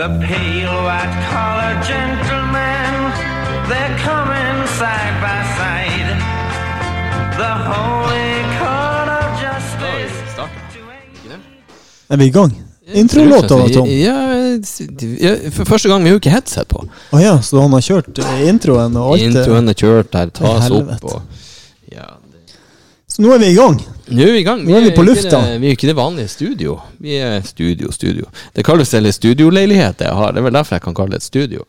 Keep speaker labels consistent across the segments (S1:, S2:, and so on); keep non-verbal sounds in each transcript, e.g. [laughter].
S1: The pale white collar gentlemen, they're coming side by side. The holy court of justice.
S2: Er vi i gang? Introlåta var tom.
S3: Ja, de- ja, for første gang vi har jo ikke headset på.
S2: Å ja, så han har kjørt eh, introen og alt det.
S3: Introen er kjørt der, tas
S2: Helvete.
S3: opp og ja, det-
S2: Så nå er vi i gang.
S3: Nå er vi i gang.
S2: Nå er vi på
S3: ikke
S2: lufta.
S3: Det, vi er jo ikke det vanlige studio. Vi er studio, studio. Det kalles vel en studioleilighet jeg har. Det er vel derfor jeg kan kalle det et studio.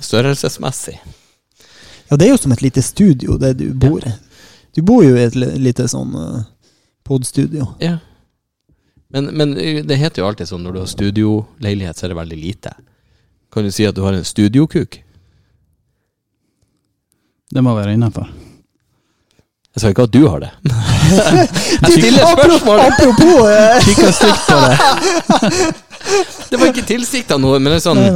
S3: Størrelsesmessig.
S2: Ja, det er jo som et lite studio, det du bor i. Du bor jo i et li- lite sånn uh, podstudio.
S3: Ja. Men, men det heter jo alltid sånn når du har studioleilighet, så er det veldig lite. Kan du si at du har en studiokuk?
S4: Det må være innafor.
S3: Jeg sa ikke at du har [laughs] det.
S2: Du,
S3: stiller
S2: apropos,
S3: spørsmål.
S2: apropos eh, [laughs]
S4: Kikka stygt på det.
S3: [laughs] Det var ikke tilsikta noe, men det er sånn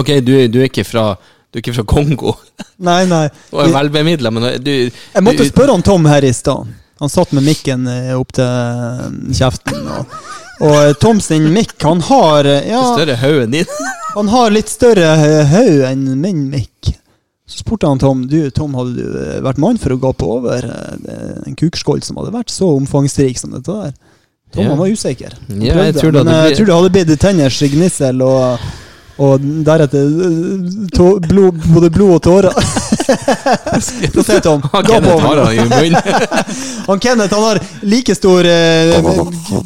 S3: Ok, du, du, er ikke fra, du er ikke fra Kongo
S2: Nei, nei.
S3: og er velbemidla, men du
S2: Jeg måtte
S3: du-
S2: spørre han Tom her i stad. Han satt med mikken eh, opp til eh, kjeften. Og, og eh, Tom sin mikk, han har eh, ja,
S3: Større haug enn din.
S2: Han har litt større eh, haug enn min mikk. Så spurte han Tom du, Tom, hadde du eh, vært mann for å gape over eh, det- en kukskål som hadde vært så omfangsrik som dette der? Tom
S3: Ja.
S2: han var usikker. Han
S3: Ja, jeg
S2: prøvde,
S3: tror det
S2: men
S3: hadde
S2: jeg
S3: blitt-
S2: tror det hadde blitt tenners gnissel og, og deretter eh, tå, blod, både blod og tårer. Så sier Tom,
S3: [laughs] Han
S2: gap
S3: Kenneth har
S2: over.
S3: han
S2: [laughs]
S3: i munnen.
S2: Han Kenneth han har like stor eh,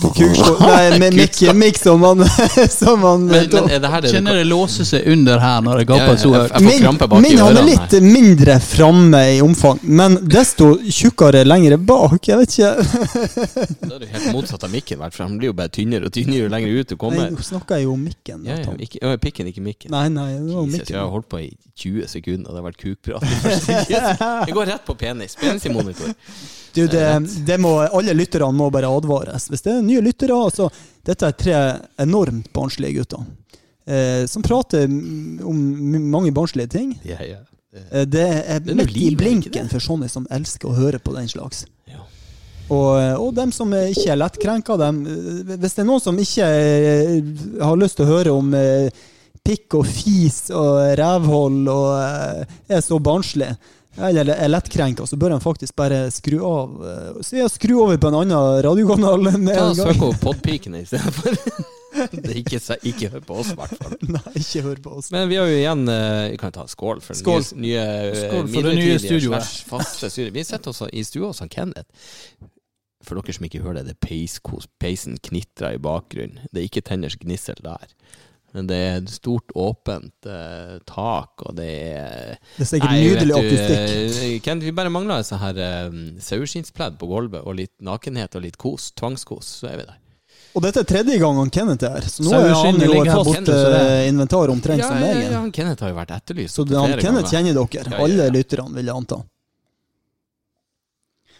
S2: kukskål
S3: [laughs]
S2: Nei, mi- mikk mikk som han, [laughs] som han eh,
S3: Men,
S2: Tom.
S3: men er det her det du-
S4: Kjenner det låser seg under her når det
S3: Ja, ja,
S4: gaper så
S3: jeg-
S4: høyt.
S3: jeg får krampe bak i
S2: min han er
S3: ørene.
S2: litt mindre framme i omfang, men desto tjukkere lengre bak. Jeg vet ikke
S3: Da er du helt motsatt av mikken, vel, for han blir jo bare tynnere og tynnere jo lenger ut du
S2: Nei,
S3: [laughs] kommer.
S2: Nå snakker jeg jo om mikken.
S3: Ja,
S2: Da,
S3: ja,
S2: Tom.
S3: ikke, ja, pikken, ikke mikken.
S2: Nei, nei, det var
S3: Jesus, jeg har
S2: mikken.
S3: holdt på i 20 sekunder, og det har vært kukprat. i første
S2: [laughs]
S3: sekund. Jeg går rett på penis. Penis i monitor.
S2: Du, det, det må, alle lytterne må bare advares. Hvis det er nye lyttere altså, Dette er tre enormt barnslige gutter. Eh, som prater mm, om m- mange barnslige ting.
S3: Ja, ja.
S2: Eh, det er
S3: Det er noe
S2: midt i
S3: liv, er det ikke
S2: blinken
S3: det?
S2: for sånne som elsker å høre på den slags.
S3: Ja.
S2: Og, og dem som eh, ikke er lettkrenka, dem eh, Hvis det er noen som ikke eh, har lyst til å høre om eh, pikk og fis og rævhold og eh, er så barnslig, eller er lettkrenka, så bør de faktisk bare skru av. eh, Så ja, skru over på en annen radiokanal med
S3: Ta og
S2: en gang.
S3: Søk opp podpikene istedenfor. [laughs] Ikke, se- ikke hør på oss, i hvert fall.
S2: [laughs] Nei, ikke hør på oss.
S3: Men vi har jo igjen eh, Vi kan ta skål for,
S2: Skål.
S3: den Nye, nye,
S4: Skål for det
S3: midlertidige
S4: nye studioet.
S3: slash faste studioet. Vi sitter også i stua hos han Kenneth. For dere som ikke hører det, det er peiskos. Peisen knitrer i bakgrunnen. Det er ikke tenners gnissel der. Men det er et stort, åpent eh, tak, og det er
S2: Det er sikkert
S3: Nei,
S2: nydelig
S3: vet du,
S2: akustikk.
S3: eh, Kenneth, vi bare mangler et sånt her eh, saueskinnspledd på gulvet, og litt nakenhet og litt kos. Tvangskos, så er vi der.
S2: Og dette er tredje gang han Kenneth er her, så nå er han
S4: Saueskinnet
S2: jo
S4: ligger
S2: et
S4: her
S2: fast
S4: borte, så det-
S2: eh, inventar omtrent
S3: Ja, ja,
S2: som meg.
S3: ja,
S2: igjen.
S3: han Kenneth har jo vært etterlyst.
S2: Så det, han
S3: flere
S2: Kenneth
S3: ganger.
S2: kjenner dere.
S3: ja,
S2: Alle
S3: ja.
S2: lytterne, vil jeg anta.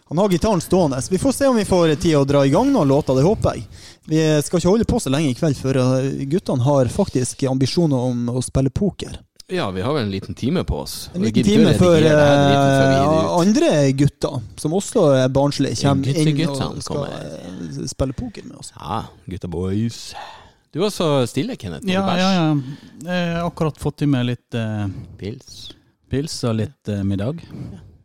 S2: Han har gitaren stående. Vi får se om vi får tid å dra i gang noen låter, det håper jeg. Vi skal ikke holde på så lenge i kveld, for uh, guttene har faktisk ambisjoner om å spille poker.
S3: Ja, vi har vel en liten time på oss.
S2: En
S3: Og vi
S2: liten
S3: gidder
S2: time
S3: å
S2: før
S3: redigere det her driten før vi gir det
S2: uh,
S3: ut.
S2: andre gutter, som også er barnslige, kommer inn og
S3: Gutteguttene
S2: skal
S3: kommer.
S2: uh, spille poker med oss.
S3: Ja, gutta boys. Du var så stille, Kenneth.
S4: Ja, ja, ja. Jeg har akkurat fått i meg litt eh,
S3: Pils.
S4: pils og litt eh, middag.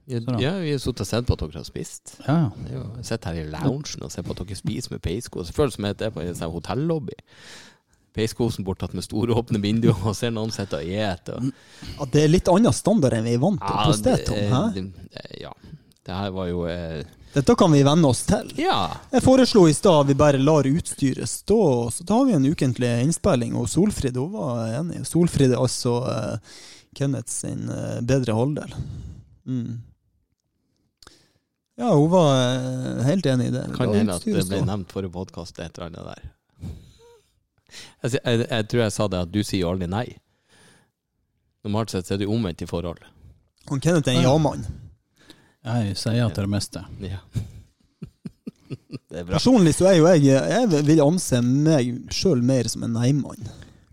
S3: Ja,
S4: Sånn,
S3: ja, vi har sittet og sett på at dere har spist.
S4: Ja, ja.
S3: Det er jo- Jeg sitter her i loungen og ser på at dere spiser med peisko. Det føles som at det er på en sånn hotellobby. Peiskosen borttatt med store åpne vinduer, og ser noen sitte og ete. og-
S2: Ja, det er litt annen standard enn vi er vant til
S3: Ja,
S2: hos deg, Tom.
S3: det-
S2: Hæ?
S3: det- Ja. Det her var jo eh,
S2: Dette kan vi venne oss til.
S3: Ja.
S2: Jeg foreslo i stad at vi bare lar utstyret stå, og så tar vi en ukentlig innspilling. Og Solfrid hun var enig. Solfrid er altså eh, Kenneth sin eh, bedre halvdel. Mm. Ja, hun var eh, helt enig i det.
S3: Kan
S2: La
S3: hende at det
S2: utstyret
S3: ble
S2: stå.
S3: nevnt forrige podkast, et eller annet [laughs] der. Jeg, sier- Altså, jeg, jeg tror jeg sa det at du sier jo aldri nei. Normalt sett så er det jo omvendt i forhold.
S2: Han Kenneth er en ja-mann.
S4: Jeg sier ja til det meste.
S3: [laughs] Ja. det er bra.
S2: Personlig så er jo jeg Jeg vil anse meg sjøl mer som en nei-mann.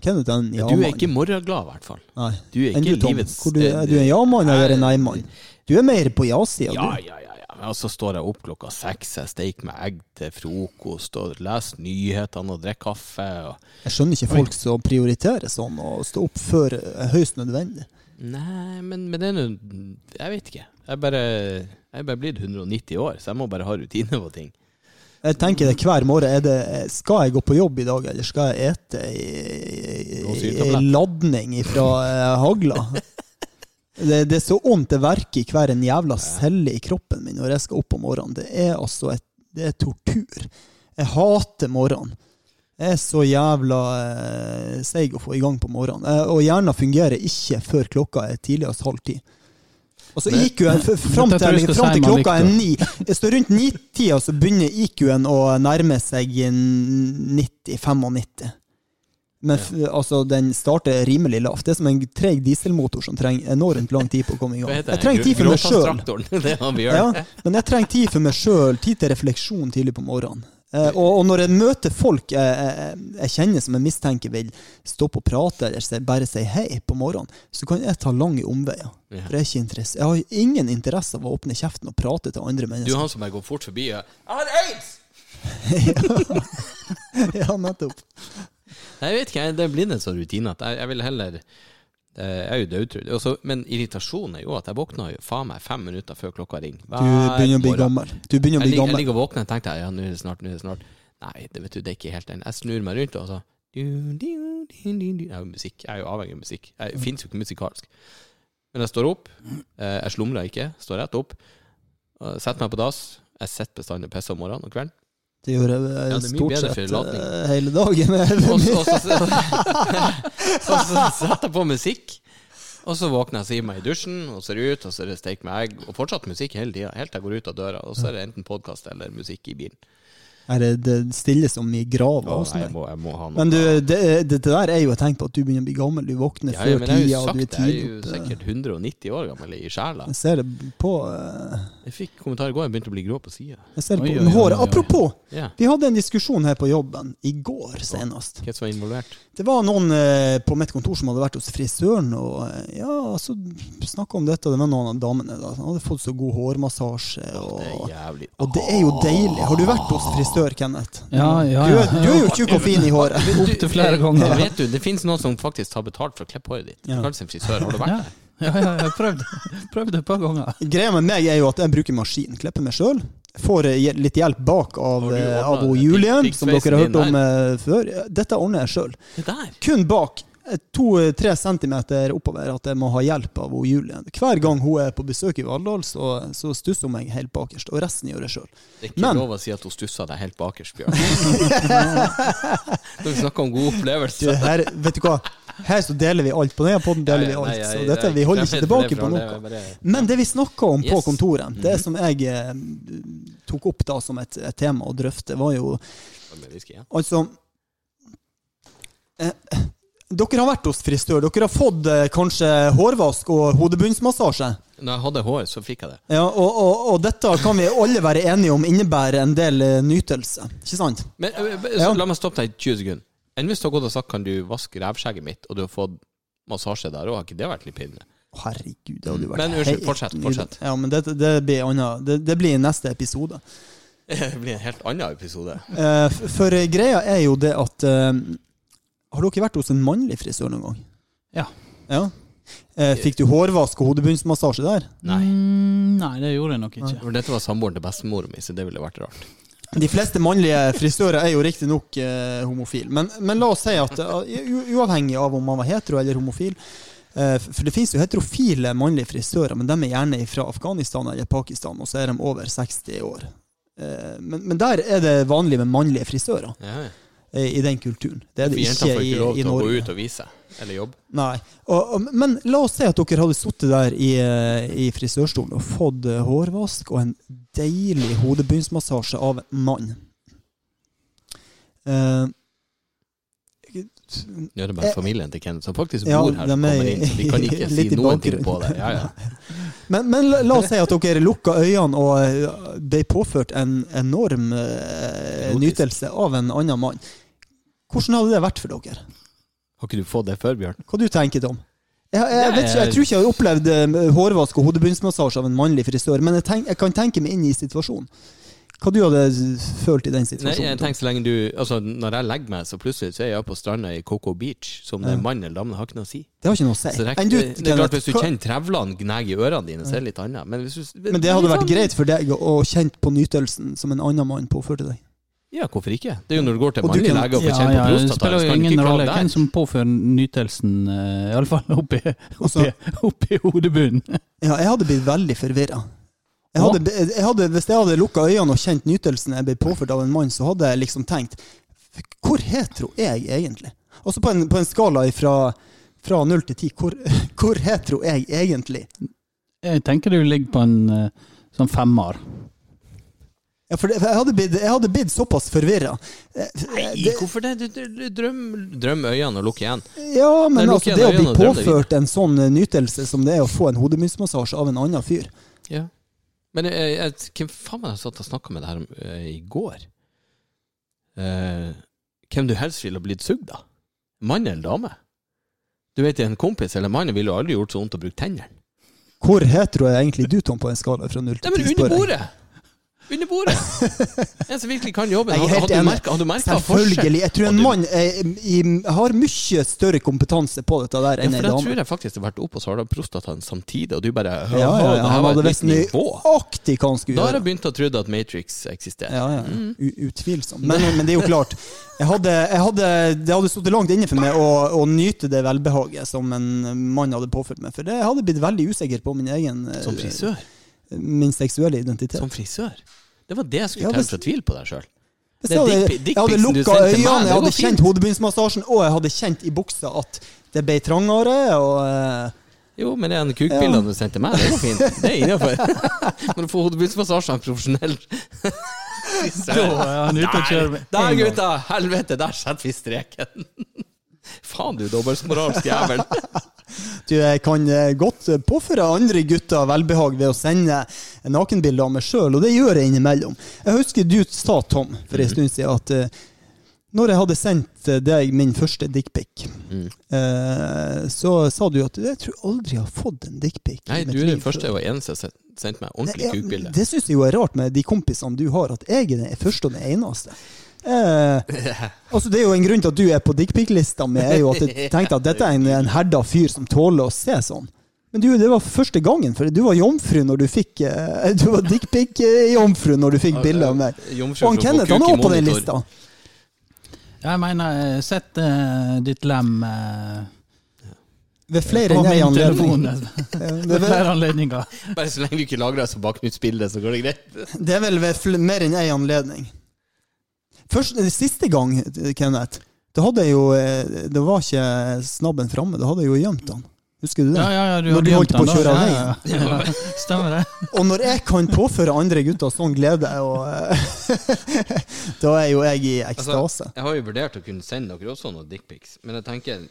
S2: Kenneth er en
S3: Men
S2: ja-mann.
S3: du er ikke morgenglad, i hvert fall.
S2: Nei.
S3: Du er
S2: Enn
S3: ikke
S2: du, Tom?
S3: livets eh,
S2: Hvor du, er du en ja-mann eller en nei-mann? Du er mer på ja-sida,
S3: Ja,
S2: du.
S3: ja, ja, ja. Ja, men og så står jeg opp klokka seks, jeg steker meg egg til frokost, og leser nyhetene og drikker kaffe. Og...
S2: Jeg skjønner ikke folk som prioriterer sånn og står opp før eh, høyst nødvendig.
S3: Nei, men, men det er noe Jeg vet ikke. Jeg er bare, jeg er bare blitt 190 år, så jeg må bare ha rutine på ting.
S2: Jeg tenker det hver morgen. Er det, skal jeg gå på jobb i dag, eller skal jeg ete i- i i- i
S3: Blåsyretablett.
S2: ladning fra hagla? Det, det er så vondt det verker i hver en jævla celle i kroppen min når jeg skal opp om morgenen. Det er altså et, det er tortur. Jeg hater morgenen. Jeg er så jævla eh, seig å få i gang på morgenen. Eh, og hjernen fungerer ikke før klokka er tidligst halv ti. Og så IQ-en
S4: [laughs]
S2: f- fram
S4: Dette tror jeg
S2: til,
S4: skal
S2: fram
S4: si
S2: til
S4: meg,
S2: klokka er
S4: Victor.
S2: ni. Jeg står rundt ni-tida, så begynner IQ-en å nærme seg 90-95. Men f altså, den starter rimelig lavt. Det er som en treg dieselmotor som trenger enormt lang tid på å komme i gang. Jeg trenger tid for meg sjøl.
S3: Gråtasstraktoren, [laughs] det er han vi gjør.
S2: Ja, men jeg trenger tid for meg sjøl, tid til refleksjon tidlig på morgenen. Eh, og, og når jeg møter folk jeg, jeg, jeg kjenner som jeg mistenker vil stoppe og prate, eller se- bare si hei på morgenen, så kan jeg ta lange omveier.
S3: Ja.
S2: For jeg, er ikke interess- jeg har ingen interesse av å åpne kjeften og prate til andre
S3: Du er
S2: mennesker.
S3: han som bare går fort forbi. Ja. Jeg har aids!
S2: [laughs] ja, nettopp.
S3: Nei, Jeg vet ikke, jeg- det blir en sånn rutine at jeg, jeg vil heller eh, Jeg er jo dødtrudd. Og så- Men irritasjonen er jo at jeg våkner jo faen meg fem minutter før klokka ringer.
S2: Du begynner å bli
S3: morgen.
S2: gammel. Du begynner
S3: Jeg,
S2: å bli
S3: lig, jeg
S2: gammel.
S3: ligger og våkner og tenker ja, nå er det snart, nå er det snart. Nei, det vet du, det er ikke helt den. Jeg snur meg rundt og så du, du, du, du, du. Jeg, er jo musikk. jeg er jo avhengig av musikk. Jeg fins jo ikke musikalsk. Men jeg står opp. eh, Jeg slumrer ikke. Står rett opp. og Setter meg på dass. Jeg sitter bestandig og pisser om morgenen og kvelden.
S2: Det gjør jeg eh,
S3: Ja, det er mye
S2: stort
S3: bedre
S2: sett
S3: for lating.
S2: eh, hele dagen. [laughs]
S3: Og så, og så, [laughs] og så setter jeg på musikk. Og så våkner jeg og sier meg i dusjen, og ser ut, og så er det steik med egg. Og fortsatt musikk hele tida, helt til jeg går ut av døra. Og så er det enten podkast eller musikk i bilen.
S2: Er det, det stille som i grava
S3: Å,
S2: hos
S3: nei,
S2: meg.
S3: jeg, må, jeg må ha noe.
S2: Men du, det, det der er jo et tegn på at du begynner å bli gammel. Du våkner
S3: ja, ja,
S2: før
S3: men jeg har
S2: tida,
S3: jo
S2: og du
S3: sagt
S2: er
S3: det, jeg er jo
S2: tidlig oppe.
S3: sikkert 190 år gammel i sjela.
S2: Jeg ser det på, eh,
S3: Jeg fikk kommentar i går, jeg begynte å bli grå på sida.
S2: jeg ser det
S4: Oi,
S2: på
S4: oi, oi,
S2: håret.
S4: oi, oi.
S2: Apropos,
S3: Ja.
S2: vi hadde en diskusjon her på jobben i går senest.
S3: Hvem som var involvert?
S2: Det var noen eh, på mitt kontor som hadde vært hos frisøren og eh, ja, altså, snakka om dette. Det var noen av damene. da. Han hadde fått så god hårmassasje.
S3: Det er
S2: Og,
S3: jævlig
S2: og det er jo deilig. Har du vært hos frisør, Kenneth?
S4: Ja, ja,
S2: Du,
S4: ja.
S2: er- du er jo tjukk og fin i håret.
S4: Opptil flere ganger.
S3: Jeg eh, Vet du, det finnes noen som faktisk har betalt for å klippe håret ditt.
S2: Ja.
S3: Kanskje en frisør. Har du vært
S4: Ja, ja, ja jeg har [laughs] prøvd, prøvd det et par ganger.
S2: Greia med meg er jo at jeg bruker maskin. Klipper meg sjøl. Får eh, hje- litt hjelp bak av,
S3: Har du
S2: eh,
S3: ordnet
S2: av hun
S3: den
S2: Julie,
S3: pigg-
S2: som dere har
S3: piggsveisen
S2: hørt om
S3: din
S2: eh, før. Dette ordner jeg sjøl.
S3: der? Det der?
S2: Kun bak. eh, To-tre centimeter oppover at jeg må ha hjelp av hun Julie. Hver gang hun er på besøk i Valldal, så, så stusser hun meg helt bakerst. Og resten gjør jeg sjøl.
S3: Det er ikke
S2: Men-
S3: lov å si at hun stussa deg helt bakerst,
S2: [laughs]
S3: Bjørn. Når vi snakker om god opplevelse.
S2: Her, vet du hva? Her så deler vi alt. På denne podden deler vi
S3: Nei,
S2: alt.
S3: nei,
S2: Så
S3: jeg-
S2: dette,
S3: jeg-
S2: vi holder
S3: jeg-
S2: ikke tilbake
S3: jeg-
S2: på
S3: jeg-
S2: noe.
S3: jeg-
S2: Men det vi snakka om på
S3: Yes. Mhm.
S2: kontoret, det som jeg eh, tok opp da som et, et tema å drøfte, var jo
S3: jeg- jeg- jeg-
S2: Altså eh, Dere har vært hos frisør. Dere har fått eh, kanskje hårvask og hodebunnsmassasje.
S3: Når jeg hadde hår, så fikk jeg det.
S2: Ja, og, og, og dette kan vi alle være enige om innebærer en del eh, nytelse. Ikke sant?
S3: Men ø, ø,
S2: Ja.
S3: så, la meg stoppe deg i 20 sekunder. Enn hvis du har gått og sagt 'kan du vaske revskjegget mitt', og du har fått massasje der òg, har ikke det vært litt
S2: [laughs]
S3: pinlig?
S2: Å, Herregud, det hadde jo vært
S3: Men unnskyld,
S2: helt
S3: fortsett,
S2: nydelig.
S3: fortsett.
S2: Ja, men det, det, blir annet, det, det blir i neste episode.
S3: Det blir en helt annen episode.
S2: Eh, f- for eh, greia er jo det at eh, Har dere vært hos en mannlig frisør noen gang?
S4: Ja.
S2: Ja? Eh, fikk du hårvask og hodebunnsmassasje der?
S3: Nei.
S4: Mm, nei, det gjorde jeg nok ikke.
S3: For dette var samboeren til bestemor mi, så det ville vært rart.
S2: De fleste mannlige frisører er jo riktignok eh, homofil, men, men la oss si at eh, u- uavhengig av om man var hetero eller homofil eh, For det finnes jo heterofile mannlige frisører, men de er gjerne fra Afghanistan eller Pakistan, og så er de over 60 år. Eh, men, men der er det vanlig med mannlige frisører
S3: Ja, ja.
S2: eh, i den kulturen. Det er
S3: For
S2: det
S3: jenter
S2: ikke
S3: får
S2: i,
S3: ikke lov
S2: i
S3: til å gå
S2: Norge.
S3: ut og vise seg, eller jobbe.
S2: Nei. Og, og, men la oss si at dere hadde sittet der i, eh, i frisørstolen og fått eh, hårvask og en deilig hodebunnsmassasje av en mann. Eh,
S3: Nå er det bare familien til Kenneth som faktisk
S2: Ja,
S3: bor her, som
S2: de er
S3: kommer inn, så de kan
S2: [laughs]
S3: ikke si
S2: litt i
S3: noen ting på det.
S2: bakgrunnen.
S3: Ja, ja.
S2: [laughs] men, men la, la oss si at dere lukka øynene og eh, ble påført en enorm eh,
S3: Erotisk.
S2: nytelse av en annen mann. Hvordan hadde det vært for dere?
S3: Har ikke du fått det før, Bjørn?
S2: Hva du tenker du om? Jeg, jeg, vet ikke, jeg tror ikke jeg har opplevd eh, hårvask og hodebunnsmassasje av en mannlig frisør, men jeg, tenk, jeg kan tenke meg inn i situasjonen. Hva du hadde følt i den
S3: Nei,
S2: situasjonen?
S3: jeg
S2: Tom?
S3: tenker så lenge du Altså, når jeg legger meg, så plutselig så er jeg på stranda i Coco Beach. Så om det er mann eller dame, det har ikke noe å si.
S2: det har ikke noe å si.
S3: Så det, er,
S2: Enn du,
S3: ikke- det er klart
S2: Kenneth,
S3: Hvis du
S2: hva-
S3: kjenner trevlene gnage i ørene dine, så er det litt annet. Men, hvis du,
S2: men det hadde
S3: litt
S2: vært
S3: sånn-
S2: greit for deg å kjenne på nytelsen som en annen mann påførte deg.
S3: Ja, hvorfor ikke? Det er jo når du går til
S2: Og du
S3: mannlig
S2: kan-
S3: lege og får
S4: Ja,
S3: kjenne
S4: ja,
S3: på
S4: det
S3: prostata,
S4: spiller
S3: så
S4: jo
S3: kan du
S4: ingen
S3: ikke
S4: rolle
S3: klage
S4: hvem
S3: der.
S4: som påfører nytelsen, eh, i alle fall
S3: [laughs]
S4: oppi, oppi,
S2: Altså-
S4: oppi hodebunnen.
S2: Ja, jeg hadde blitt veldig forvirra. Jeg
S4: Hva?
S2: hadde, jeg hadde, hvis jeg hadde lukka øynene og kjent nytelsen jeg ble påført av en mann, så hadde jeg liksom tenkt Hvor hetero er jeg egentlig? Altså på en, på en skala fra, fra null til ti, hvor, [laughs] hvor hetero er jeg egentlig?
S4: Jeg tenker du ligger på en eh, sånn femmer.
S2: Ja, for det, for jeg, hadde blitt, jeg hadde blitt såpass Eh, forvirra.
S3: Nei, hvorfor det? Du, du, du, drøm, drøm øynene og lukk igjen.
S2: Ja, men
S3: Nei, lukk
S2: altså,
S3: igjen
S2: det å bli
S3: øynene og drøm deg
S2: påført en sånn eh, nytelse som det er å få en hodemysmassasje av en annen fyr
S3: Ja. Men jeg, jeg, hvem faen var det jeg satt og snakka med det her om eh, i går? Eh, hvem du helst ville ha blitt sugd av? Mann eller dame? Du vet, en kompis eller mann ville jo aldri gjort så vondt å bruke tennene.
S2: Hvor hetero er egentlig du, Tom, på en skala fra null
S3: Nei,
S2: til
S3: men
S2: ti?
S3: under
S2: spør jeg.
S3: bordet! Under bordet! En som virkelig kan jobben.
S2: Jeg er
S3: Hadde,
S2: helt
S3: hadde, du
S2: enig.
S3: merket- hadde du merka forskjell?
S2: Selvfølgelig. Jeg tror en
S3: Og du-
S2: mann eh, i- har mye større kompetanse på dette der
S3: Ja,
S2: enn
S3: for
S2: en
S3: da tror
S2: dame.
S3: jeg faktisk det har vært opp, og så har de prostataen samtidig, og du bare
S2: Ja, ja, ja.
S3: «Åh, det her
S2: Han
S3: var et
S2: hadde
S3: nytt
S2: visst nøyaktig hva han skulle
S3: Da Mm. har jeg
S2: gjøre.
S3: begynt å tro at Matrix eksisterer.
S2: Ja, ja. U utvilsomt. Men, men det er jo klart. Jeg hadde, jeg hadde, det hadde stått langt inne for meg å, å nyte det velbehaget som en mann hadde påført meg. For det jeg hadde blitt veldig usikker på min egen eh,
S3: Som frisør.
S2: Min seksuelle identitet.
S3: Som frisør. Det var det jeg skulle
S2: Ja,
S3: til
S2: hvis-
S3: for å tvile på deg sjøl.
S2: Hvis
S3: det er
S2: jeg hadde,
S3: dick-
S2: jeg hadde
S3: dickpicsen du sendte
S2: lukka
S3: til meg,
S2: øynene,
S3: det
S2: jeg
S3: går
S2: hadde
S3: fint.
S2: kjent hodebunnsmassasjen, og jeg hadde kjent i buksa at det ble trangere. og... eh,
S3: Jo, men den kukbildene du sendte meg, det går fint. Det er innafor. [laughs] Men å få hodebunnsmassasje av en profesjonell
S4: Da er han ute og
S3: Der,
S4: kjører med
S3: der
S4: en gang.
S3: gutta! Helvete, der setter vi streken. [laughs] Faen, du dobbeltmoralsk jævel.
S2: Du jeg kan eh, godt eh, påføre andre gutter velbehag ved å sende nakenbilder av meg sjøl, og det gjør jeg innimellom. Jeg husker du sa, Tom, for
S3: Mhm.
S2: en stund siden, at eh, når jeg hadde sendt eh, deg min første dickpic,
S3: Mm.
S2: eh, så sa du at jeg tror aldri jeg har fått en dickpic. i
S3: Nei,
S2: mitt
S3: du er
S2: liv
S3: den første
S2: før.»
S3: og eneste som sendte meg
S2: Nei,
S3: ordentlig
S2: jeg-
S3: kukbilde.
S2: Det syns jeg jo er rart med de kompisene du har, at jeg er den første og den eneste. Eh, altså Det er jo en grunn til at du er på dickpic-lista mi, er jo at jeg tenkte at dette er en, en herda fyr som tåler å se sånn. Men du, det var første gangen, for du var jomfru når du fikk eh, Du var dickpic-jomfru når du fikk bilde av meg. Og han Kenneth han er også på den lista.
S4: Jeg mener, eh, sett eh, ditt lem eh,
S2: Ved flere
S4: på
S2: enn en
S4: min telefon
S2: anledning.
S4: ved
S2: Eh, det er vel-
S4: flere anledninger.
S3: Bare så lenge du ikke lagrer som bakgrunnsbilde, så går det greit.
S2: Det er vel ved fl mer enn én anledning. Først, eh, siste gang, eh, Kenneth, da hadde jeg jo eh, Det var ikke snabben framme, da hadde jeg jo gjemt han. Husker du det?
S4: Ja, ja, ja,
S2: Når
S4: hadde
S2: du holdt
S4: gjemt den
S2: på å
S4: da.
S2: kjøre av
S4: Ja, ja,
S2: [laughs]
S4: ja. Stemmer det.
S2: Og når jeg kan påføre andre gutter sånn glede, og, eh, [laughs] da er jo jeg i ekstase.
S3: Altså, Jeg har jo vurdert å kunne sende dere også noen dickpics, men jeg tenker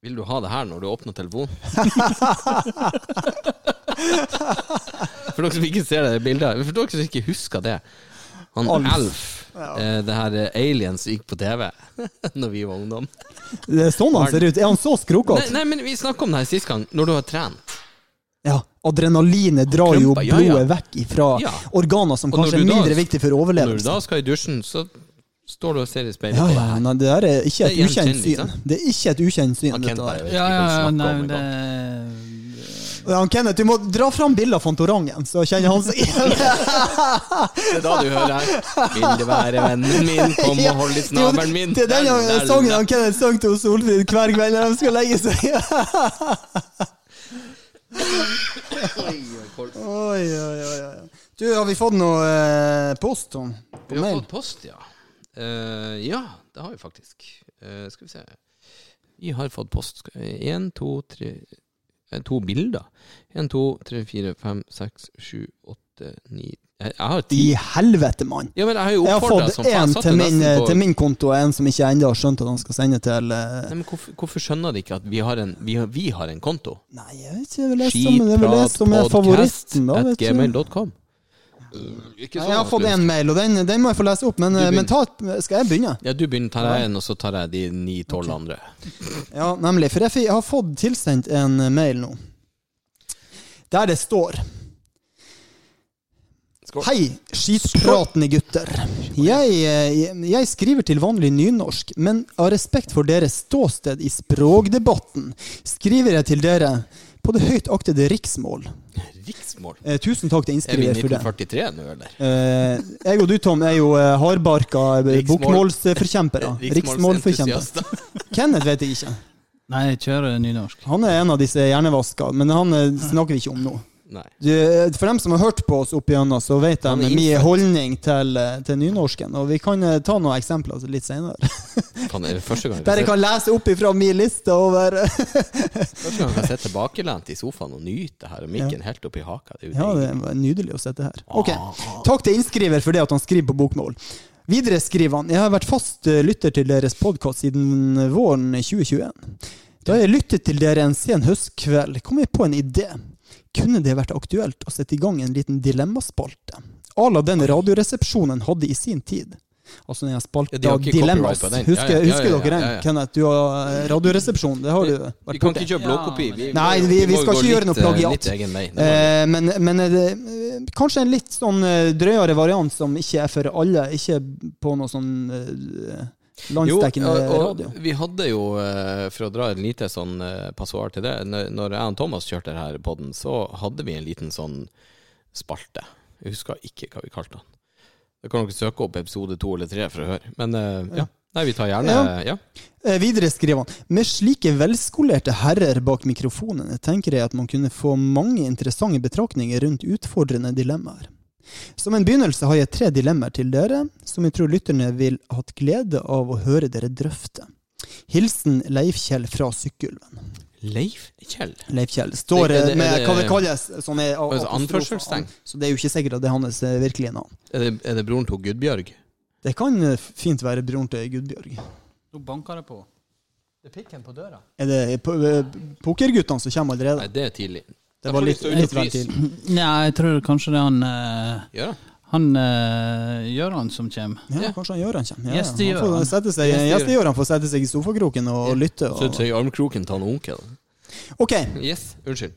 S3: Vil du ha det her når du åpner
S2: [laughs]
S3: telefonen? For dere som ikke ser det bildet For dere som ikke husker det. Han
S2: Alf.
S3: Alf, eh, det her eh, aliens som gikk på TV [laughs] Når vi var ungdom.
S2: det er sånn han ser ut. Er han så
S3: Nei,
S2: skrukete?
S3: nei, men vi snakka om det her sist gang, når du har trent.
S2: Ja. Adrenalinet drar jo
S3: Klumper, ja, ja.
S2: blodet vekk ifra
S3: Ja.
S2: organer som
S3: Og når
S2: kanskje er
S3: du da-
S2: mindre viktige
S3: Og
S2: for
S3: Når du
S2: overlevelse.
S3: da skal i dusjen, så står du og ser i speilet
S2: Ja,
S3: på
S2: ja,
S3: deg.
S2: nei, det her er ikke
S3: Det
S2: et
S3: er liksom.
S2: ukjent
S3: gjenkjennelig,
S2: syn.
S3: sant?
S2: Det er ikke et ukjent syn.
S3: Han
S2: dette
S3: Kent
S2: her.
S3: bare,
S4: Ja, ja, ja,
S3: vi kan snakke
S4: nei,
S3: om
S4: det
S3: engang.
S2: Ja, han Kenneth, du må dra fram bilder av Fantorangen, så kjenner han seg igjen.
S3: Det er da du hører her. Vil du være vennen min, kom og hold i snabelen min.
S2: Det er den
S3: Der, der,
S2: sangen
S3: der.
S2: han Kenneth sang til Solfrid hver kveld når de skal legge seg. Oi, oi, oi, oi. Du, har vi fått noe eh, post, Tom? På
S3: Vi har
S2: mail?
S3: fått post, ja. Eh, ja, det har vi faktisk. Eh, skal vi se. Vi har fått post. Én, to, tre eh, To bilder. Én, to, tre, fire, fem, seks, sju, åtte, ni Jeg jeg har ti.
S2: I helvete, mann!
S3: Ja, men jeg har jo
S2: Jeg har
S3: oppfordret som
S2: fått
S3: faen.
S2: én
S3: Satt jo
S2: til, min, eh,
S3: nesten på-
S2: til min konto, og en som ikke ennå har skjønt at han skal sende til eh,
S3: Nei, men hvorfor, hvorfor skjønner de ikke at vi har en, vi har, vi har en konto?
S2: Nei, jeg vet ikke. Det er vel det som- det er vel det som er favoritten. da, vet du.
S3: Skitpratpodkast.gmail.com. Øh, Ikke
S2: Jeg har fått én mail, og den, den må jeg få lese opp. Men, eh,
S3: begynner.
S2: men ta, skal jeg begynne?
S3: Ja, du begynner, tar jeg en, og så tar jeg de ni-tolv
S2: [laughs]
S3: andre.
S2: Ja, nemlig. For jeg, fi- jeg har fått tilsendt en eh, mail nå. Der det står
S3: Skål.
S2: Hei, skitpratende gutter. Jeg, eh, jeg skriver til vanlig nynorsk, men av respekt for deres ståsted i språkdebatten skriver jeg til dere på det høyt aktede riksmål.
S3: Riksmål.
S2: Eh, tusen takk til
S3: Er vi i
S2: innskriver for det.
S3: 1943 nå, eller?
S2: Eh, jeg og du, Tom, er jo eh, hardbarka eh,
S3: Riksmål-
S2: bokmålsforkjempere. Riksmålforkjempere.
S3: Riksmålsentusiaster. [laughs]
S2: Kenneth vet jeg ikke.
S4: Nei, jeg kjører nynorsk.
S2: Han er en av disse hjernevaska, men han eh, snakker vi ikke om nå.
S3: Nei.
S2: Du, eh, for dem som har hørt på oss opp igjennom, så vet de
S3: Han er
S2: min
S3: innfødt.
S2: holdning til, eh, til nynorsken. Og vi kan eh, ta noen eksempler litt senere.
S3: Kan, er det første gang jeg
S2: [laughs] Der
S3: kan
S2: jeg kan lese opp ifra min liste over eh,
S3: se- første gang jeg kan sitte tilbakelent i sofaen og nyte det her, og mikken helt oppi haka. Det er jo
S2: Ja,
S3: deilig.
S2: det var nydelig å sitte her. Ok,
S3: Ah.
S2: Takk til innskriver for det at han skriver på bokmål. Videre skriver han Jeg har vært fast eh, lytter til deres podkast siden våren 2021. Da jeg lyttet til dere en sen høstkveld, kom jeg på en idé. Kunne det vært aktuelt å sette i gang en liten dilemmaspalte? À la den Radioresepsjonen hadde i sin tid. Altså den spalta
S3: Ja, de har ikke
S2: Dilemmas.
S3: copyright på den. Ja,
S2: Husker,
S3: ja, ja,
S2: husker
S3: ja,
S2: dere den,
S3: ja, ja.
S2: Kenneth? Du har eh, Radioresepsjon. Det har du
S3: Vi
S2: vært
S3: kan
S2: borti.
S3: ikke kjøre blåkopi. Vi må
S2: Nei,
S3: jo-
S2: vi- vi
S3: må jo
S2: skal
S3: gå
S2: ikke gjøre noe
S3: litt, eh,
S2: plagiat.
S3: Litt egen vei. Det var-
S2: Eh, men men er det, eh, kanskje en litt sånn eh, drøyere variant som ikke er for alle. Ikke på noe sånn eh, landsdekkende
S3: og- og
S2: radio.
S3: Vi hadde jo, eh, for å dra et lite sånn eh, passoar til det, når når jeg og Thomas kjørte her podden, så hadde vi en liten sånn spalte. Jeg husker ikke hva vi kalte den. Da kan dere søke opp episode to eller tre for å høre. Men eh, ja. Nei, vi tar gjerne Ja.
S2: Eh, videre skriver han Med slike velskolerte herrer bak mikrofonene tenker jeg at man kunne få mange interessante betraktninger rundt utfordrende dilemmaer. Som en begynnelse har jeg tre dilemmaer til dere, som jeg tror lytterne vil ha hatt glede av å høre dere drøfte. Hilsen Leif Kjell fra Sykkylven.
S3: Leif Kjell.
S2: Leif Kjell står eh,
S3: Det- det- det-
S2: med hva det
S3: det-
S2: kalles sånne a-
S3: Altså,
S2: apostrofer.
S3: anførselstegn.
S2: Så det er jo ikke sikkert at det er hans eh, virkelige navn.
S3: Er det, er det broren til Gudbjørg?
S2: Det kan eh, fint være broren til Gudbjørg.
S4: Nå banker det på. Det er pikken på døra.
S2: Er det po- eh, pokerguttene som kommer
S3: Nei,
S2: allerede?
S3: det er tidlig.
S2: Det var litt, litt vel tidlig.
S4: Nei, jeg tror kanskje det er han eh,
S3: Ja.
S4: Han eh, Gøran som kommer.
S2: Ja,
S3: Ja.
S2: kanskje han gjør han kommer. Ja,
S4: Gjestegjør
S2: han får
S4: han.
S2: sette seg-
S3: Gjestegjør.
S2: Gjestegjør han får sette seg i sofakroken og lytte.
S3: Så
S2: Og...
S3: sier armkroken til han onkel.
S2: Ok,
S3: Yes, unnskyld.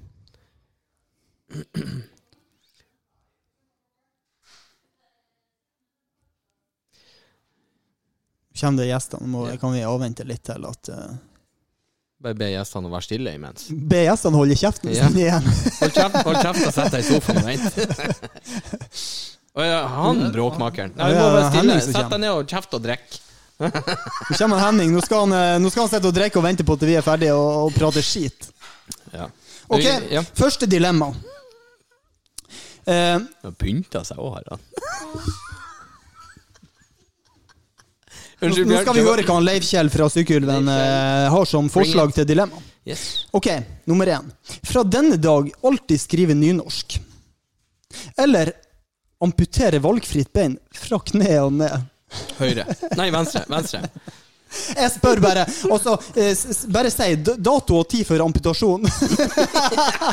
S2: kommer det gjester. Nå må,
S3: Ja.
S2: kan vi avvente litt til at eh,
S3: Bare be gjestene å være stille imens.
S2: Be gjestene holde kjeften
S3: Ja.
S2: sin [laughs] igjen.
S3: Hold kjeft, hold kjeft og sett deg i sofaen og vent. [laughs] Å ja, han bråkmakeren. Nei, du må
S2: Ja,
S3: være stille.
S2: Henning som
S3: Sett deg ned og kjeft og drikk.
S2: Nå kommer Henning. Nå skal han, eh, nå skal han sitte og drikke og vente på at vi er ferdige og, og prate skit.
S3: Ja.
S2: Ok,
S3: Ja.
S2: første dilemma. Eh,
S3: Han pynta seg òg, har han. Unnskyld,
S2: nå skal vi
S3: Bjørn.
S2: høre hva han Leif Kjell fra Sykkylven
S3: Leif Kjell.
S2: eh, har som forslag til dilemma.
S3: Yes.
S2: Ok, nummer én. Fra denne dag alltid skrive nynorsk. Eller amputere valgfritt bein fra kne og ned.
S3: Høyre. Nei, venstre. Venstre.
S2: [laughs] Jeg spør bare. Altså, eh, s- s- bare si d- dato og tid for amputasjon.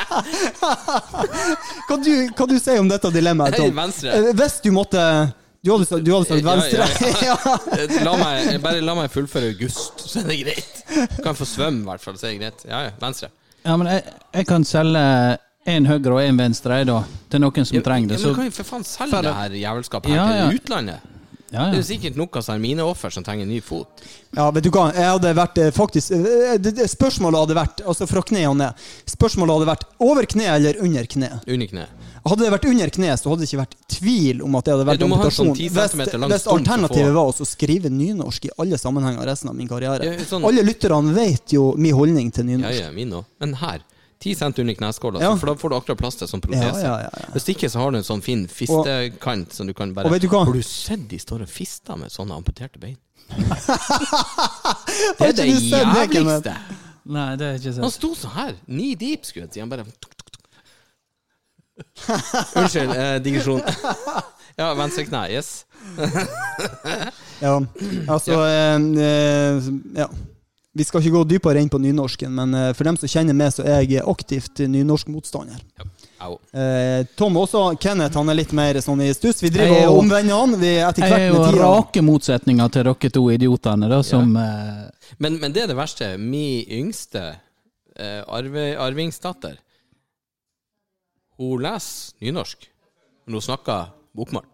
S2: [laughs] hva, du, hva du sier om dette dilemmaet,
S3: Nei,
S2: Tom?
S3: venstre.
S2: Eh, Hvis du måtte Du hadde sagt, du hadde sagt
S3: Ja,
S2: venstre.
S3: ja,
S2: ja.
S3: Eh, La meg, bare la meg fullføre august, så er det greit. Kan få svømme, i hvert fall, så er det greit. Ja, ja. Venstre.
S4: Ja, men jeg, jeg kan selge én høyre og én venstre jeg, da, til noen som trenger det.
S3: ja,
S4: Så,
S3: men kan jo for faen selge det her jævelskapet her
S4: Ja, ja.
S3: til utlandet.
S4: ja,
S3: Det er
S4: ja.
S3: jo sikkert noen som er mine offer som trenger en ny fot.
S2: [laughs] Ja, vet du hva, jeg hadde vært eh, faktisk eh, det, det, Spørsmålet hadde vært, altså fra kne og ned Spørsmålet hadde vært over kne eller under kne.
S3: Under kneet.
S2: Hadde det vært under kne, så hadde det ikke vært tvil om at det hadde vært
S3: Ja, du må ha en
S2: amputasjon.
S3: sånn 10
S2: hvis,
S3: centimeter lang
S2: hvis
S3: stump for å
S2: alternativet
S3: få-
S2: var også å skrive nynorsk i alle sammenhenger resten av min karriere.
S3: Ja, sånn-
S2: Alle lytterne vet jo min holdning
S3: Ja,
S2: til [laughs] nynorsk.
S3: ja, min òg. Men her. 10 cent under kneskåla,
S2: Ja.
S3: så- for da får du akkurat plass til sånn protese.
S2: Ja, ja, ja, ja.
S3: Hvis ikke så har du en sånn fin fistekant som du kan bare
S2: Og vet du hva?
S3: Har du sett de står og fister med sånne amputerte bein? det
S2: Har
S3: er
S2: ikke
S3: det
S2: du sett det, Kenneth?
S3: jævligste!
S4: Nei, det er ikke
S3: Han
S4: sant.
S3: sto sånn her, knee deep, skulle jeg si. Han bare tuk, tuk, tuk. Unnskyld, eh,
S2: [laughs]
S3: digresjon. ja, venstre kne. Yes.
S2: Ja, altså eh, eh, Ja. Vi skal ikke gå dypere inn på nynorsken, men eh, for dem som kjenner meg, så er jeg aktivt nynorskmotstander.
S3: Au.
S2: Eh, Tom også, Kenneth han er litt mer sånn i stuss. Vi
S4: Jeg er
S2: driver
S4: jo-
S2: og omvender han vi etter
S4: Jeg
S2: hvert
S4: er jo
S2: med tida.
S4: rake motsetninger til dere to idiotene, da, som eh,
S3: Men, men det er det verste. Min yngste eh, arve, arvingsdatter, hun leser nynorsk, men hun snakker bokmål.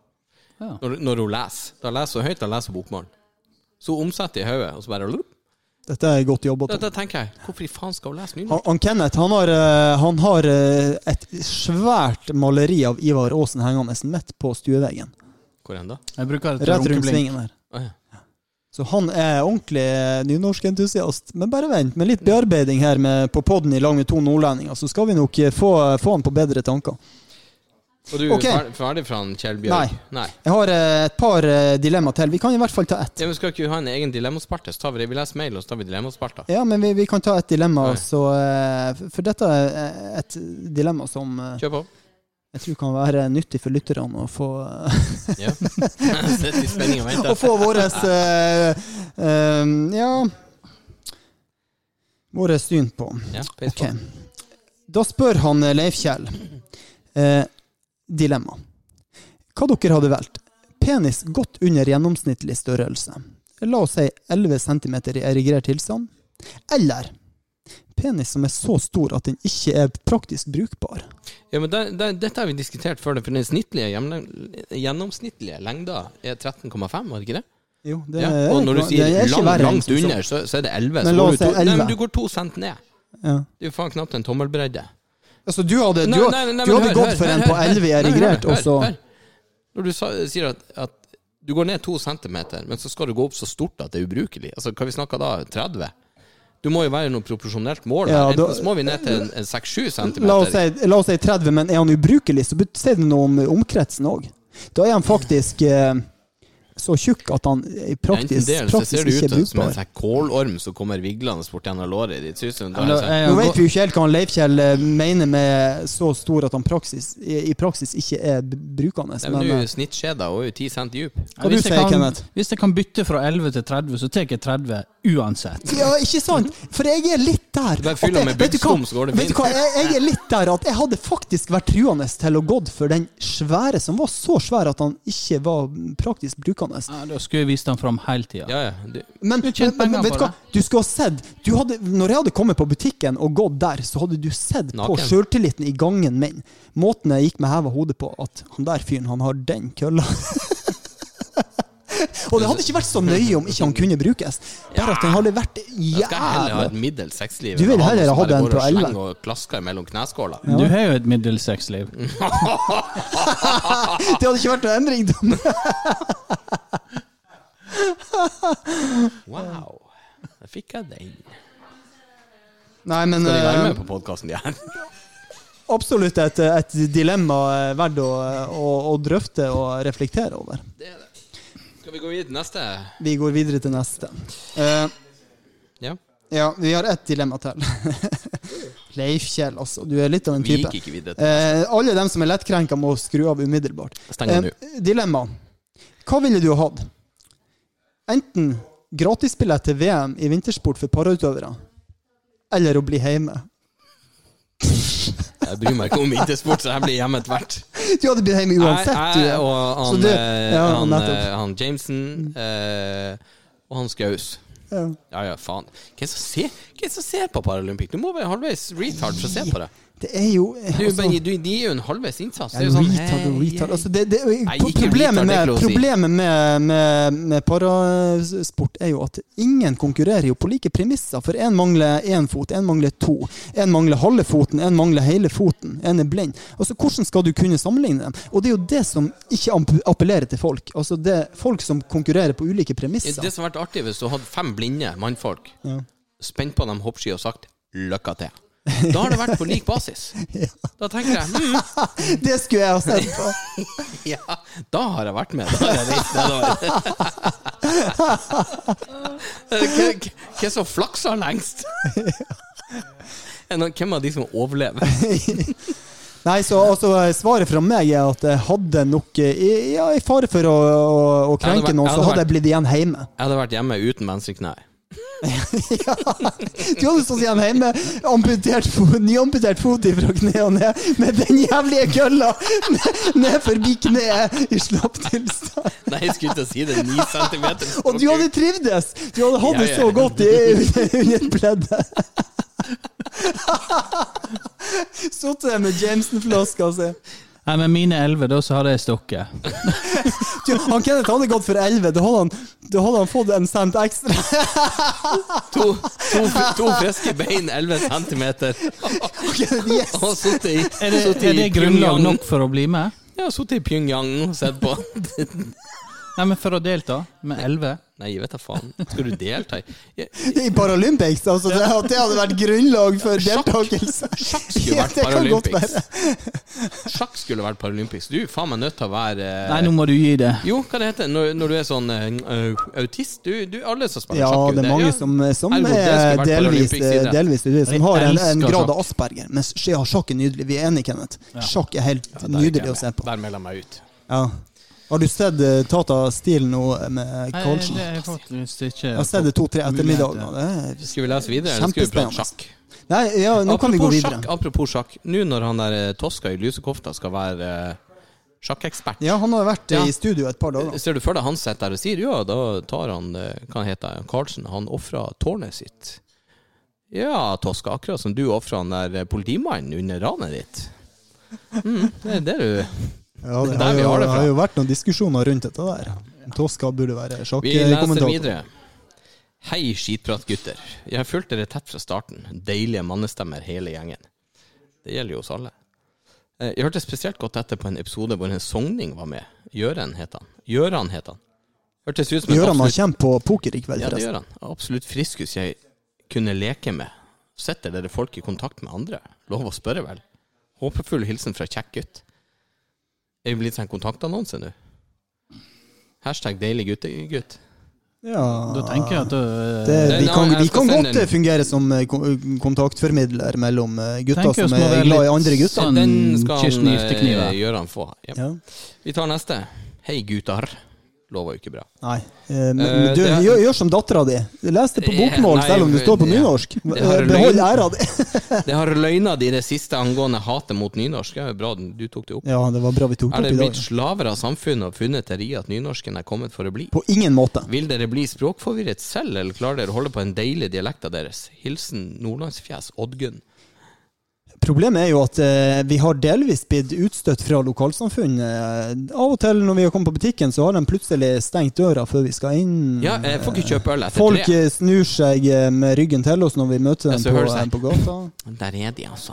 S4: Ja.
S3: Når, når hun leser. Da leser hun høyt, da leser hun bokmål. Så hun omsetter i hodet, og så bare lup.
S2: Dette er godt jobba.
S3: da,
S2: Tom.
S3: da tenker jeg, hvorfor i faen skal hun lese nynorsk?
S2: Han, han Kenneth han har, eh, han har eh, et svært maleri av Ivar Aasen hengende midt på stueveggen.
S3: Hvor hen da?
S4: Jeg bruker det til
S2: Rett rundt
S4: runkebling.
S2: svingen der.
S3: Å, ja.
S2: Så han er ordentlig nynorskentusiast. Men bare vent, med litt bearbeiding her med, på podden i lag med to nordlendinger, så skal vi nok eh, få, få han på bedre tanker.
S3: Og du
S2: Ok.
S3: er ferdig fra han Kjell Bjørg? Nei.
S2: Jeg har eh, et par eh, dilemma til. Vi kan i hvert fall ta ett.
S3: Ja, men skal ikke vi ha en egen dilemmaspalte? Så tar vi, vi leser mail, og så tar vi dilemmasparta.
S2: Ja, men vi, vi kan ta et dilemma,
S3: Oi.
S2: så, eh, for- for dette er eh, et dilemma som eh,
S3: Kjør på.
S2: jeg tror kan være nyttig for lytterne å få, eh,
S3: Ja. [laughs] Sitter i spenning og
S2: å
S3: venter.
S2: få våres eh, eh, Ja Våre syn på.
S3: Ja, peis på.
S2: Ok. Da spør han eh, Leif Kjell eh, dilemma. Hva dere hadde valgt? Penis godt under gjennomsnittlig størrelse. La oss si 11 cm i erigert tilstand. Eller penis som er så stor at den ikke er praktisk brukbar.
S3: Ja, men der, der, dette har vi diskutert før, for den snittlige, jevne- gjennomsnittlige lengda er 13,5, var det ikke det?
S2: Jo, det
S3: Ja.
S2: er-
S3: Og når du
S2: det
S3: sier
S2: er ikke
S3: lang,
S2: verre enn
S3: langt
S2: som så.
S3: under, så, så er det 11.
S2: Men
S3: Så
S2: la
S3: går
S2: oss
S3: du, to,
S2: si 11.
S3: nei, men du går to cent ned.
S2: Ja.
S3: Det er jo faen knapt en tommelbredde.
S2: Altså, du hadde, du,
S3: Nei, nei, nei, men
S2: du hadde
S3: hør,
S2: gått
S3: hør,
S2: for en
S3: hør,
S2: på
S3: hør,
S2: 11 i
S3: hør,
S2: erigert,
S3: hør,
S2: og så
S3: hør, hør. Når du sa, sier at, at du går ned to centimeter, men så skal du gå opp så stort at det er ubrukelig. Altså, Hva vi snakker da? 30? Du må jo være noe proporsjonelt mål.
S2: Ja,
S3: her.
S2: da-
S3: Enten så må vi ned til en- en 6-7
S2: La oss,
S3: centimeter.
S2: si, la oss si 30, men er han ubrukelig, så bet- sier det noe om omkretsen òg. Da er han faktisk eh, så tjukk at han eh, praktisk,
S3: Enten det, eller så ser
S2: praktisk
S3: det
S2: ikke er
S3: ut som en
S2: brukbar.
S3: sånn kålorm som kommer viglende bort gjennom låret ditt. Ser ut som- da er
S4: Eller,
S3: det sånn-
S4: jeg
S2: Nå
S4: har
S2: vet
S4: gått-
S2: vi jo ikke helt hva han Leifkjell eh, mener med så stor at han praksis, i, i praksis ikke er b- brukende.
S3: Nei, men
S2: Men,
S3: nå sånn, er
S2: eh,
S3: snittskjeda og er jo 10 cent dyp.
S2: Hva du
S4: Hvis jeg
S2: sier,
S4: kan-
S2: Kenneth?
S4: Hvis jeg kan bytte fra 11 til 30, så tar jeg 30 uansett.
S2: ja, ikke sant? For jeg er litt der.
S3: Bare fyll
S2: at
S3: den
S2: jeg-
S3: med
S2: vet du hva?
S3: byggskum, så går det
S2: Vet du
S3: fint.
S2: hva, jeg, jeg er litt der at jeg hadde faktisk vært truende til å gått for den svære, som var så svær at han ikke var praktisk brukende.
S4: Ja, da skulle jeg vist den fram hele tida.
S3: Ja, ja. Du,
S2: Men,
S4: Du tjente
S2: men, men
S4: penger
S2: vet
S4: på
S2: du hva? Du skulle ha sett du hadde, Når jeg hadde kommet på butikken og gått der, så hadde du sett på
S3: Naken.
S2: sjøltilliten i gangen min. Måten jeg gikk med heva hodet på, at han der fyren, han har den kølla. [laughs] og det hadde ikke vært så nøye om ikke han kunne brukes. Bare at den hadde vært
S3: jeg skal heller ha et
S2: jævla
S3: middels sexliv.
S2: Du vil
S3: enn å ha
S2: heller
S3: noe som
S2: ha
S3: bare
S2: den
S3: går og
S2: på 11.
S3: slenger Og klasker mellom kneskåler.
S4: Du har jo et middelsexliv.
S2: Mm. Det hadde ikke vært noen endring. Tom.
S3: Wow. Da fikk jeg den.
S2: Eh, Nei, men
S3: Skal de være med
S2: eh,
S3: på podkasten, de her?
S2: absolutt et, et dilemma eh, verdt å, å, å drøfte og reflektere over.
S3: Det er det. [laughs] Skal vi gå videre til neste?
S2: Vi går videre til neste. Eh,
S3: Ja.
S2: Ja, vi har ett dilemma til. [laughs] Leif Kjell, altså. Du er litt av en
S3: Vi
S2: type.
S3: gikk ikke videre. til-
S2: Eh, alle dem som er lettkrenka, må skru av umiddelbart. Eh,
S3: Steng den
S2: dilemma. Hva ville du hatt? Enten gratisbillett til VM i vintersport for parautøvere, eller å bli hjemme. [laughs]
S3: Jeg bryr meg ikke om vintersport, så jeg blir hjemme etter hvert.
S2: Du hadde blitt hjemme [laughs] uansett,
S3: Jeg, jeg
S2: du.
S3: og han,
S2: Så du-
S3: eh,
S2: ja,
S3: han,
S2: nettopp.
S3: eh, han Jameson eh, og han Skaus.
S2: Ja.
S3: Ja, ja, faen. Hvem som ser, hvem som ser på Paralympic? Du må være halvveis retard for å se på det.
S2: Det er jo
S3: Du,
S2: altså,
S3: men du, de gir jo en halvveis innsats.
S2: Ja,
S3: Det er jo sånn
S2: retard og
S3: hei,
S2: retard.
S3: hei.
S2: Altså, det, det,
S3: Nei, ikke
S2: problemet
S3: retard, det er
S2: med,
S3: ikke lov å si.
S2: problemet med, med, med parasport er jo at ingen konkurrerer jo på like premisser. For én mangler én fot, én mangler to. Én mangler halve foten, én mangler hele foten. Én er blind. Altså, Hvordan skal du kunne sammenligne dem? Og det er jo det som ikke amp- appellerer til folk. Altså, det er folk som konkurrerer på ulike premisser.
S3: Det som hadde vært artig hvis du hadde fem blinde mannfolk,
S2: Ja.
S3: spent på dem hoppski og sagt 'lykke til'. Da har det vært på lik basis.
S2: [laughs]
S3: Da tenker jeg hm,
S2: Det skulle jeg ha sett på!
S3: ja, da har jeg vært med. Da har jeg reist
S2: [laughs]
S3: nedover. Hvem- Hvem som flakser
S2: [laughs]
S3: lengst? Er det noen- Hvem av de som overlever?
S2: [laughs] Nei, så altså, svaret fra meg er at jeg hadde nok eh, i, ja, i fare for å, å,
S3: Ja,
S2: å
S3: det
S2: krenke
S3: var- ja,
S2: noen, så
S3: det var-
S2: hadde jeg blitt igjen hjemme. [laughs]
S3: Jeg hadde vært hjemme uten venstre kne.
S2: ja. Du hadde stått igjen hjemme, amputert fo- nyamputert fot ifra kne og ned, med den jævlige kølla ned- ned forbi kneet i slapp tilstand.
S3: Nei, jeg skulle ikke si det. Ni centimeter.
S2: Og du hadde trivdes! Du hadde hatt det
S3: Ja, ja.
S2: så godt i, [laughs] under et pledd. [laughs] Sittet der med Jameson-flaska altså. og se.
S4: Nei, men mine elleve, da så hadde jeg stukket.
S2: Du, Han Kenneth hadde gått for 11. Da hadde han, da hadde han fått en cent ekstra. [laughs]
S3: To, to, to friske bein, 11 centimeter.
S2: Kenneth, yes.
S3: Og sittet i
S4: Er
S2: [laughs]
S4: det,
S3: sittet i
S4: er det grunnlag
S3: Pyongyang.
S4: nok for å bli med?
S3: Ja, sittet i Pyongyang og sett på. [laughs]
S4: Nei, men for å delta med elleve?
S3: Nei, jeg vet da faen. Skal du delta i Ja,
S2: I Paralympics, altså. Det, at det hadde vært grunnlag for deltakelse.
S3: Sjakk skulle
S2: Ja,
S3: vært
S2: det kan godt
S3: Paralympics. Sjakk skulle vært Paralympics. Du er faen meg nødt til å være eh,
S4: Nei, nå må du gi det.
S3: Jo, hva det heter når, når du er sånn eh, autist? Du, du, alle som spiller
S2: Ja,
S3: sjakk, jo,
S2: det er mange
S3: ja.
S2: som, eh, som
S3: Ergo, det
S2: er
S3: skulle vært
S2: delvis, eh,
S3: Paralympics idrett.
S2: delvis ute, som
S4: Jeg
S2: har en, en
S4: elsker
S2: grad
S4: sjakk.
S2: av asperger. Men sj- ja, sjakk er nydelig. Vi er enige, Kenneth. Sjakk er helt
S3: Ja, der gikk jeg
S2: nydelig å
S3: med.
S2: se på.
S3: Der melder jeg meg ut.
S2: Ja. Har du sett eh, Tata Steel nå eh, med
S4: Nei,
S2: Karlsen?
S4: det er faktisk ikke
S2: Jeg har sett det to-tre ettermiddager. nå. Det
S3: Skal vi lese videre, eller skal vi prate
S2: Kjempespennende.
S3: sjakk?
S2: er- Nei, ja, nå kan vi gå
S3: Apropos
S2: videre.
S3: Sjakk, apropos sjakk. Nå når han der eh, Toska i lusekofta skal være eh, sjakkekspert
S2: Ja, han har vært eh,
S3: Ja.
S2: i studio et par dager.
S3: Ser du for deg han sitter der og sier ja, da tar han eh, Hva heter han? Karlsen? Han ofra tårnet sitt. Ja, Toska, akkurat som du ofra han der eh, politimannen under ranet ditt. Mm, det er det du
S2: Ja,
S3: Det er
S2: det har
S3: der vi
S2: jo,
S3: har det fra.
S2: har jo vært noen diskusjoner rundt dette der. Toska burde være
S3: Vi leser
S2: sjakkommentator.
S3: videre. Hei, skitprat, gutter. Jeg har fulgt dere tett fra starten. Deilige mannestemmer, hele gjengen. Det gjelder jo oss alle. Eh, Jeg hørte spesielt godt etter på en episode hvor en sogning var med. Gjøran het han. Gjøran het han. Hørtes ut som en
S2: Gøran har
S3: absolutt,
S2: kjent på poker i kveld,
S3: ja, det gjør
S2: forresten.
S3: han. absolutt friskus jeg kunne leke med. Setter dere folk i kontakt med andre? Lov å spørre, vel? Håpefull hilsen fra kjekk gutt. Er vi blitt sånn kontaktannonse nå? Hashtag deilig guttegutt.
S2: Ja,
S4: Da tenker jeg at eh, du
S2: det, vi
S3: Nei,
S2: kan,
S3: jeg
S2: vi
S3: skal
S2: kan
S3: sende
S2: godt
S3: en-
S2: eh, fungere som eh, kon- kontaktformidler mellom eh, gutter
S4: Tenker oss
S2: som
S4: må
S2: er
S4: være
S2: glad i
S4: litt
S2: andre gutter.
S4: sånn-
S3: Den skal han
S4: kystniftekniven.
S3: eh, gjøre han få. Ja.
S2: Ja.
S3: Vi tar neste. Hei, gutar. Lover jo ikke bra.
S2: Nei. eh, Men
S3: Eh,
S2: du,
S3: det er-
S2: gjør, gjør som dattera di. Les det på
S3: Eh,
S2: bokmål
S3: nei,
S2: selv om det står på
S3: ja.
S2: nynorsk.
S3: Det har
S2: Eh, Behold
S3: løgn.
S2: æra di.
S3: Det har løgna de i det siste angående hatet mot nynorsk. Ja, bra du tok det opp.
S2: Ja, det var bra vi tok
S3: Er det
S2: det opp i
S3: blitt
S2: dag.
S3: slaver av samfunnet og funnet dere i at nynorsken er kommet for å bli?
S2: På ingen måte.
S3: Vil dere bli språkforvirret selv, eller klarer dere å holde på en deilig dialekt av deres? Hilsen nordlandsfjes Oddgunn.
S2: Problemet er jo at eh, vi har delvis blitt utstøtt fra lokalsamfunn. Eh, av og til når vi har kommet på butikken, så har de plutselig stengt døra før vi skal inn.
S3: Ja, jeg får ikke kjøpe øl etter
S2: Folk
S3: tre.
S2: eh, snur seg eh, med ryggen til oss når vi møter
S3: Ja,
S2: dem
S3: så
S2: på, eh,
S3: hører sånn. det seg.
S2: på gata.
S3: Der er de, altså.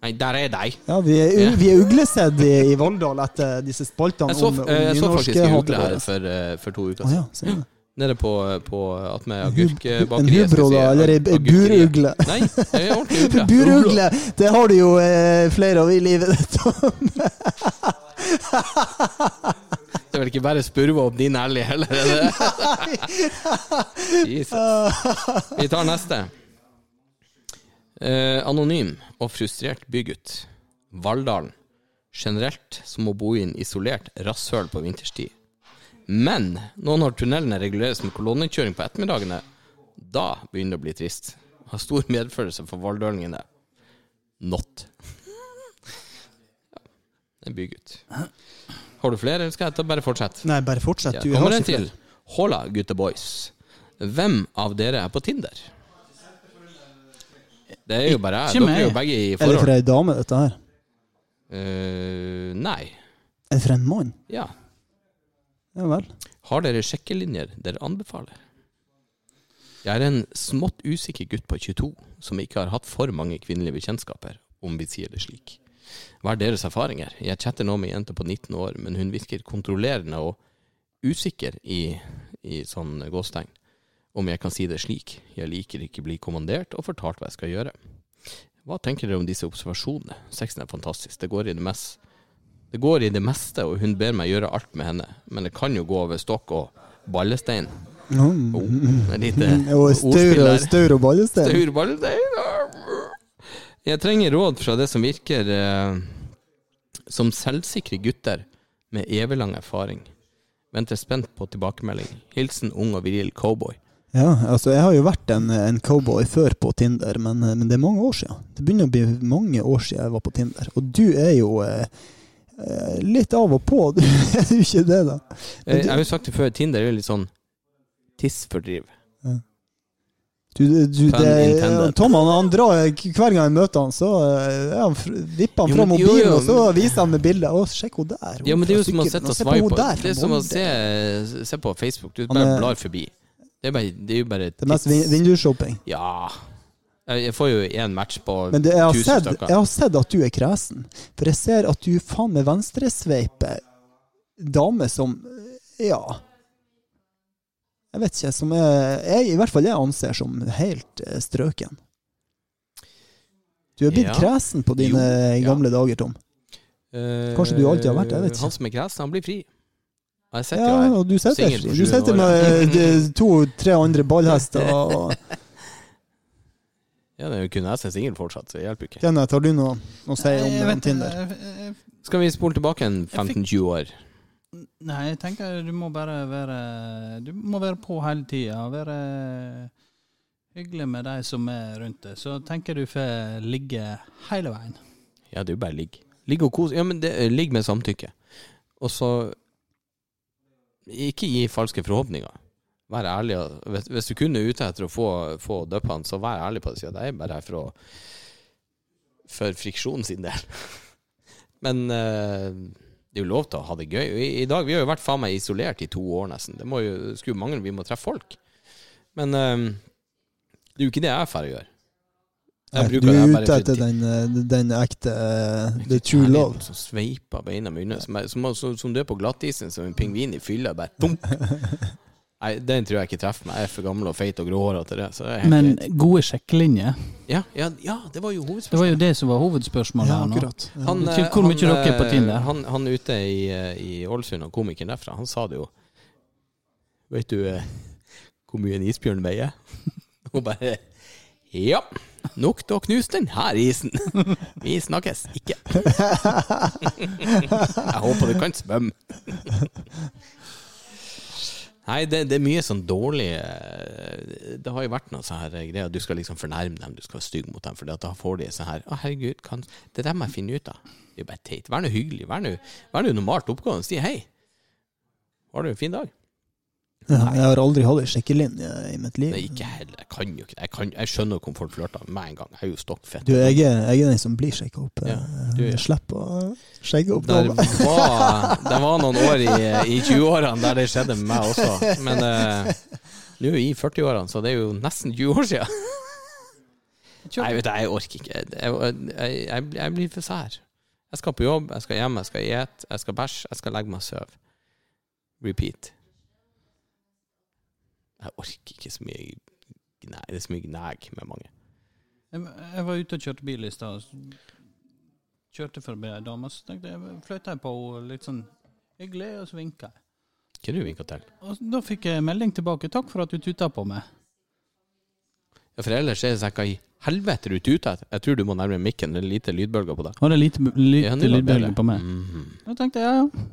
S3: Nei, der er de.
S2: Ja, vi er,
S3: Ja.
S2: vi er uglesedd i, i Valldal etter disse spaltene
S3: Jeg så,
S2: om, om
S3: eh, jeg så faktisk en ugle her
S2: vårt.
S3: for, eh, for to uker
S2: Å
S3: siden.
S2: ja, ser du.
S3: Nede på, på Atmed
S2: En hub- en
S3: agurkbakeriet. skal
S2: hubro,
S3: jeg si.
S2: da, eller ei ei
S3: Agurkeriet.
S2: burugle.
S3: Nei, det er
S2: [laughs]
S3: ordentlig ugle.
S2: Burugle! Det har du jo eh, flere av i livet ditt.
S3: [laughs] Det er vel ikke bare spurve opp din ærlig heller, er det det? Jesus. Vi tar neste. Eh, anonym og frustrert bygutt. Valldalen. Generelt som å bo i en isolert rasshøl på vinterstid. Men nå når tunnelene reguleres med kolonnekjøring på ettermiddagene, da begynner det å bli trist. Har stor medfølelse for valldølingene. Not. [laughs] Ja, en bygutt. Har du flere, eller skal jeg ta- bare fortsette?
S2: Nei, bare fortsett.
S3: Ja,
S2: Du
S3: kommer
S2: har
S3: en
S2: ikke
S3: til. Hola, gutta boys. Hvem av dere er på Tinder? Det er jo bare jeg.
S4: Ikke
S3: Dere er jo
S4: meg.
S3: begge i
S2: Er det for
S3: forhold.
S2: ei dame, dette her?
S3: Eh, nei.
S2: Er det for en mann?
S3: Ja.
S2: Ja vel.
S3: Har dere sjekkelinjer dere anbefaler? Jeg er en smått usikker gutt på 22 som ikke har hatt for mange kvinnelige bekjentskaper, om vi sier det slik. Hva er deres erfaringer? Jeg chatter nå med ei jente på 19 år, men hun virker kontrollerende og usikker i, i sånn gåstegn. Om jeg kan si det slik, jeg liker ikke bli kommandert og fortalt hva jeg skal gjøre. Hva tenker dere om disse observasjonene? Sexen er fantastisk, det går i det mest det går i det meste, og hun ber meg gjøre alt med henne. Men det kan jo gå over stokk og ballestein.
S2: Mm.
S3: Oh, et lite
S2: [laughs] Og
S3: ordspill
S2: Staur-
S3: der.
S2: Staur og Ballestein.
S3: Staur ballestein. Jeg trenger råd fra det som virker eh, som selvsikre gutter med evig lang erfaring. Venter spent på tilbakemelding. Hilsen ung og viril cowboy. Eh,
S2: Ja, altså jeg har jo vært en, en cowboy før på Tinder, men, eh, men det er mange år siden. Det begynner å bli mange år siden jeg var på Tinder. Og du er jo eh, eh, litt av og på, [laughs] du er jo ikke det, da? Men
S3: Jeg,
S2: du-
S3: jeg har jo sagt det før, Tinder er jo litt sånn tissfordriv.
S2: Du, du,
S3: Pun
S2: det,
S3: intended.
S2: Tom han, han drar k- hver gang jeg møter han, så eh, er han, fr- vipper han
S3: Jo,
S2: fra
S3: men- jo,
S2: mobilen,
S3: jo,
S2: og så
S3: men-
S2: viser han med bildet. Å, sjekk henne der!
S3: Ja,
S2: hun
S3: men det er jo
S2: fra
S3: som å
S2: Sykkylven,
S3: sitte
S2: og
S3: og
S2: se på
S3: sveipe.
S2: henne
S3: Det er
S2: der, fra
S3: som å
S2: Molde.
S3: se, se på Facebook. Du
S2: Han
S3: bare
S2: er-
S3: blar forbi. Det er, bare, det er jo bare
S2: Det er mest vin-
S3: tids-
S2: vindusshopping.
S3: Ja. Jeg jeg får jo én match på
S2: Men det, jeg, har
S3: tusen
S2: sett,
S3: stykker.
S2: jeg har sett at du er kresen. For jeg ser at du faen meg venstresveiper damer som Ja. Jeg vet ikke, som jeg, jeg I hvert fall jeg anser som helt eh, strøken. Du er blitt
S3: Ja.
S2: kresen på dine
S3: Jo, ja.
S2: gamle dager, Tom.
S3: Eh,
S2: Kanskje du alltid har vært det, jeg vet ikke.
S3: Han som er kresen, han blir fri. Jeg sitter jo
S2: Ja,
S3: her.
S2: og du sitter,
S3: Singel på
S2: du
S3: sjuende
S2: sitter
S3: året.
S2: med eh, to-tre andre ballhester
S3: [laughs]
S2: og
S3: Ja, det er jo kun jeg som er singel fortsatt, så det hjelper jo ikke.
S2: Kenneth, har du noe å si om
S4: Jeg
S2: eh,
S4: vet-
S2: Tinder?
S4: jeg- jeg-
S3: Skal vi spole tilbake en
S4: fikk-
S3: 15-20 år?
S4: Nei, jeg tenker du må bare være Du må være på hele tida. Være hyggelig med de som er rundt deg. Så tenker du får ligge hele veien.
S3: Ja, det er jo bare ligg. Ligg og kos. Ja, men det, eh, ligg med samtykke. Og så Ikke gi falske forhåpninger. Vær ærlig. og- Hvis, hvis du kun er ute etter å få, få døppe han, så vær ærlig på det. Si at jeg er bare her for å For friksjonen sin del. [laughs] men eh, det er jo lov til å ha det gøy. I, i dag, Vi har jo vært faen meg isolert i to år, nesten. Det må jo, skulle jo mangle. Vi må treffe folk. Men eh, det er jo ikke det jeg er ferdig å gjøre.
S2: Nei,
S3: Jeg bruker
S2: Du
S3: det
S2: er
S3: her bare
S2: ute
S3: for
S2: etter
S3: ti-
S2: den, eh, den ekte eh, the true love.
S3: Som sveiper beina mine. Som, er, som, som, som du er på glattisen som en pingvin i fylla. Bare
S2: [laughs]
S3: dunk. Nei, den tror jeg ikke treffer meg. Jeg er for gammel og feit og gråhåret til det. Så det er helt
S4: Men
S3: greit.
S4: gode sjekkelinjer.
S3: ja, ja, ja, det var jo
S4: Det var
S3: hovedspørsmålet.
S4: jo det som var hovedspørsmålet
S2: Ja,
S4: her nå.
S2: akkurat.
S3: Han,
S4: Ikke
S3: eh,
S4: hvor mye
S3: han,
S4: dere er på
S3: eh,
S4: Tinder.
S3: Han, han ute i, eh, i Ålesund, og komikeren derfra, han sa det jo. Vet du eh, hvor mye en isbjørn veier? [laughs] Og bare Ja, nok til å knuse den her isen. [laughs] Vi snakkes ikke. [laughs] Jeg håper du kan svømme. [laughs] Nei, det, det er mye sånn dårlig eh, Det har jo vært noe sånn her eh, greier. Du skal liksom fornærme dem, du skal være stygg mot dem, for da får de sånn her Å, herregud, kan, det der må jeg finne ut av. Det er jo bare teit. Vær nå hyggelig. Vær nå vær nå normalt oppgående. Si hei. Har du en fin dag?
S2: Ja, jeg har aldri hatt ei sjekkelinje i mitt liv.
S3: Nei, ikke heller. Jeg kan jo ikke det. Jeg, kan- jeg skjønner hvordan folk flørter med meg en gang. Jeg er jo stokkfett.
S2: Du, jeg er, jeg er den som blir sjekka opp. eh,
S3: Ja, du er-
S2: Jeg slipper å skjegge opp.
S3: Der
S2: damer.
S3: var, det var noen år i, i 20-årene der det skjedde med meg også. Men eh, nå er jeg i 40-årene, så det er jo nesten 20 år siden. Nei, vet du, jeg orker ikke. Jeg, jeg, jeg, jeg blir for sær. Jeg skal på jobb, jeg skal hjem, jeg skal gjete, jeg skal bæsje, jeg skal legge meg og sove. Repeat. Jeg orker ikke så mye gnæ- Det er så mye gnæg med mange.
S4: Jeg, jeg var ute og kjørte bil i stad. og Kjørte forbi ei dame, så tenkte jeg fløyta jeg på henne litt sånn hyggelig, og så vinka jeg.
S3: Hva er det du vinker til?
S4: Og da fikk jeg melding tilbake. 'Takk for at du tuta på meg'.
S3: Ja, For ellers er det sånn hva i helvete er du ute etter? Jeg tror du må nærme mikken, det er lite lydbølger på deg.
S4: Og det er lite,
S3: Ja,
S4: lite
S3: det var bedre.
S4: lydbølger på meg.
S3: Mhm.
S4: Da tenkte jeg ja, ja.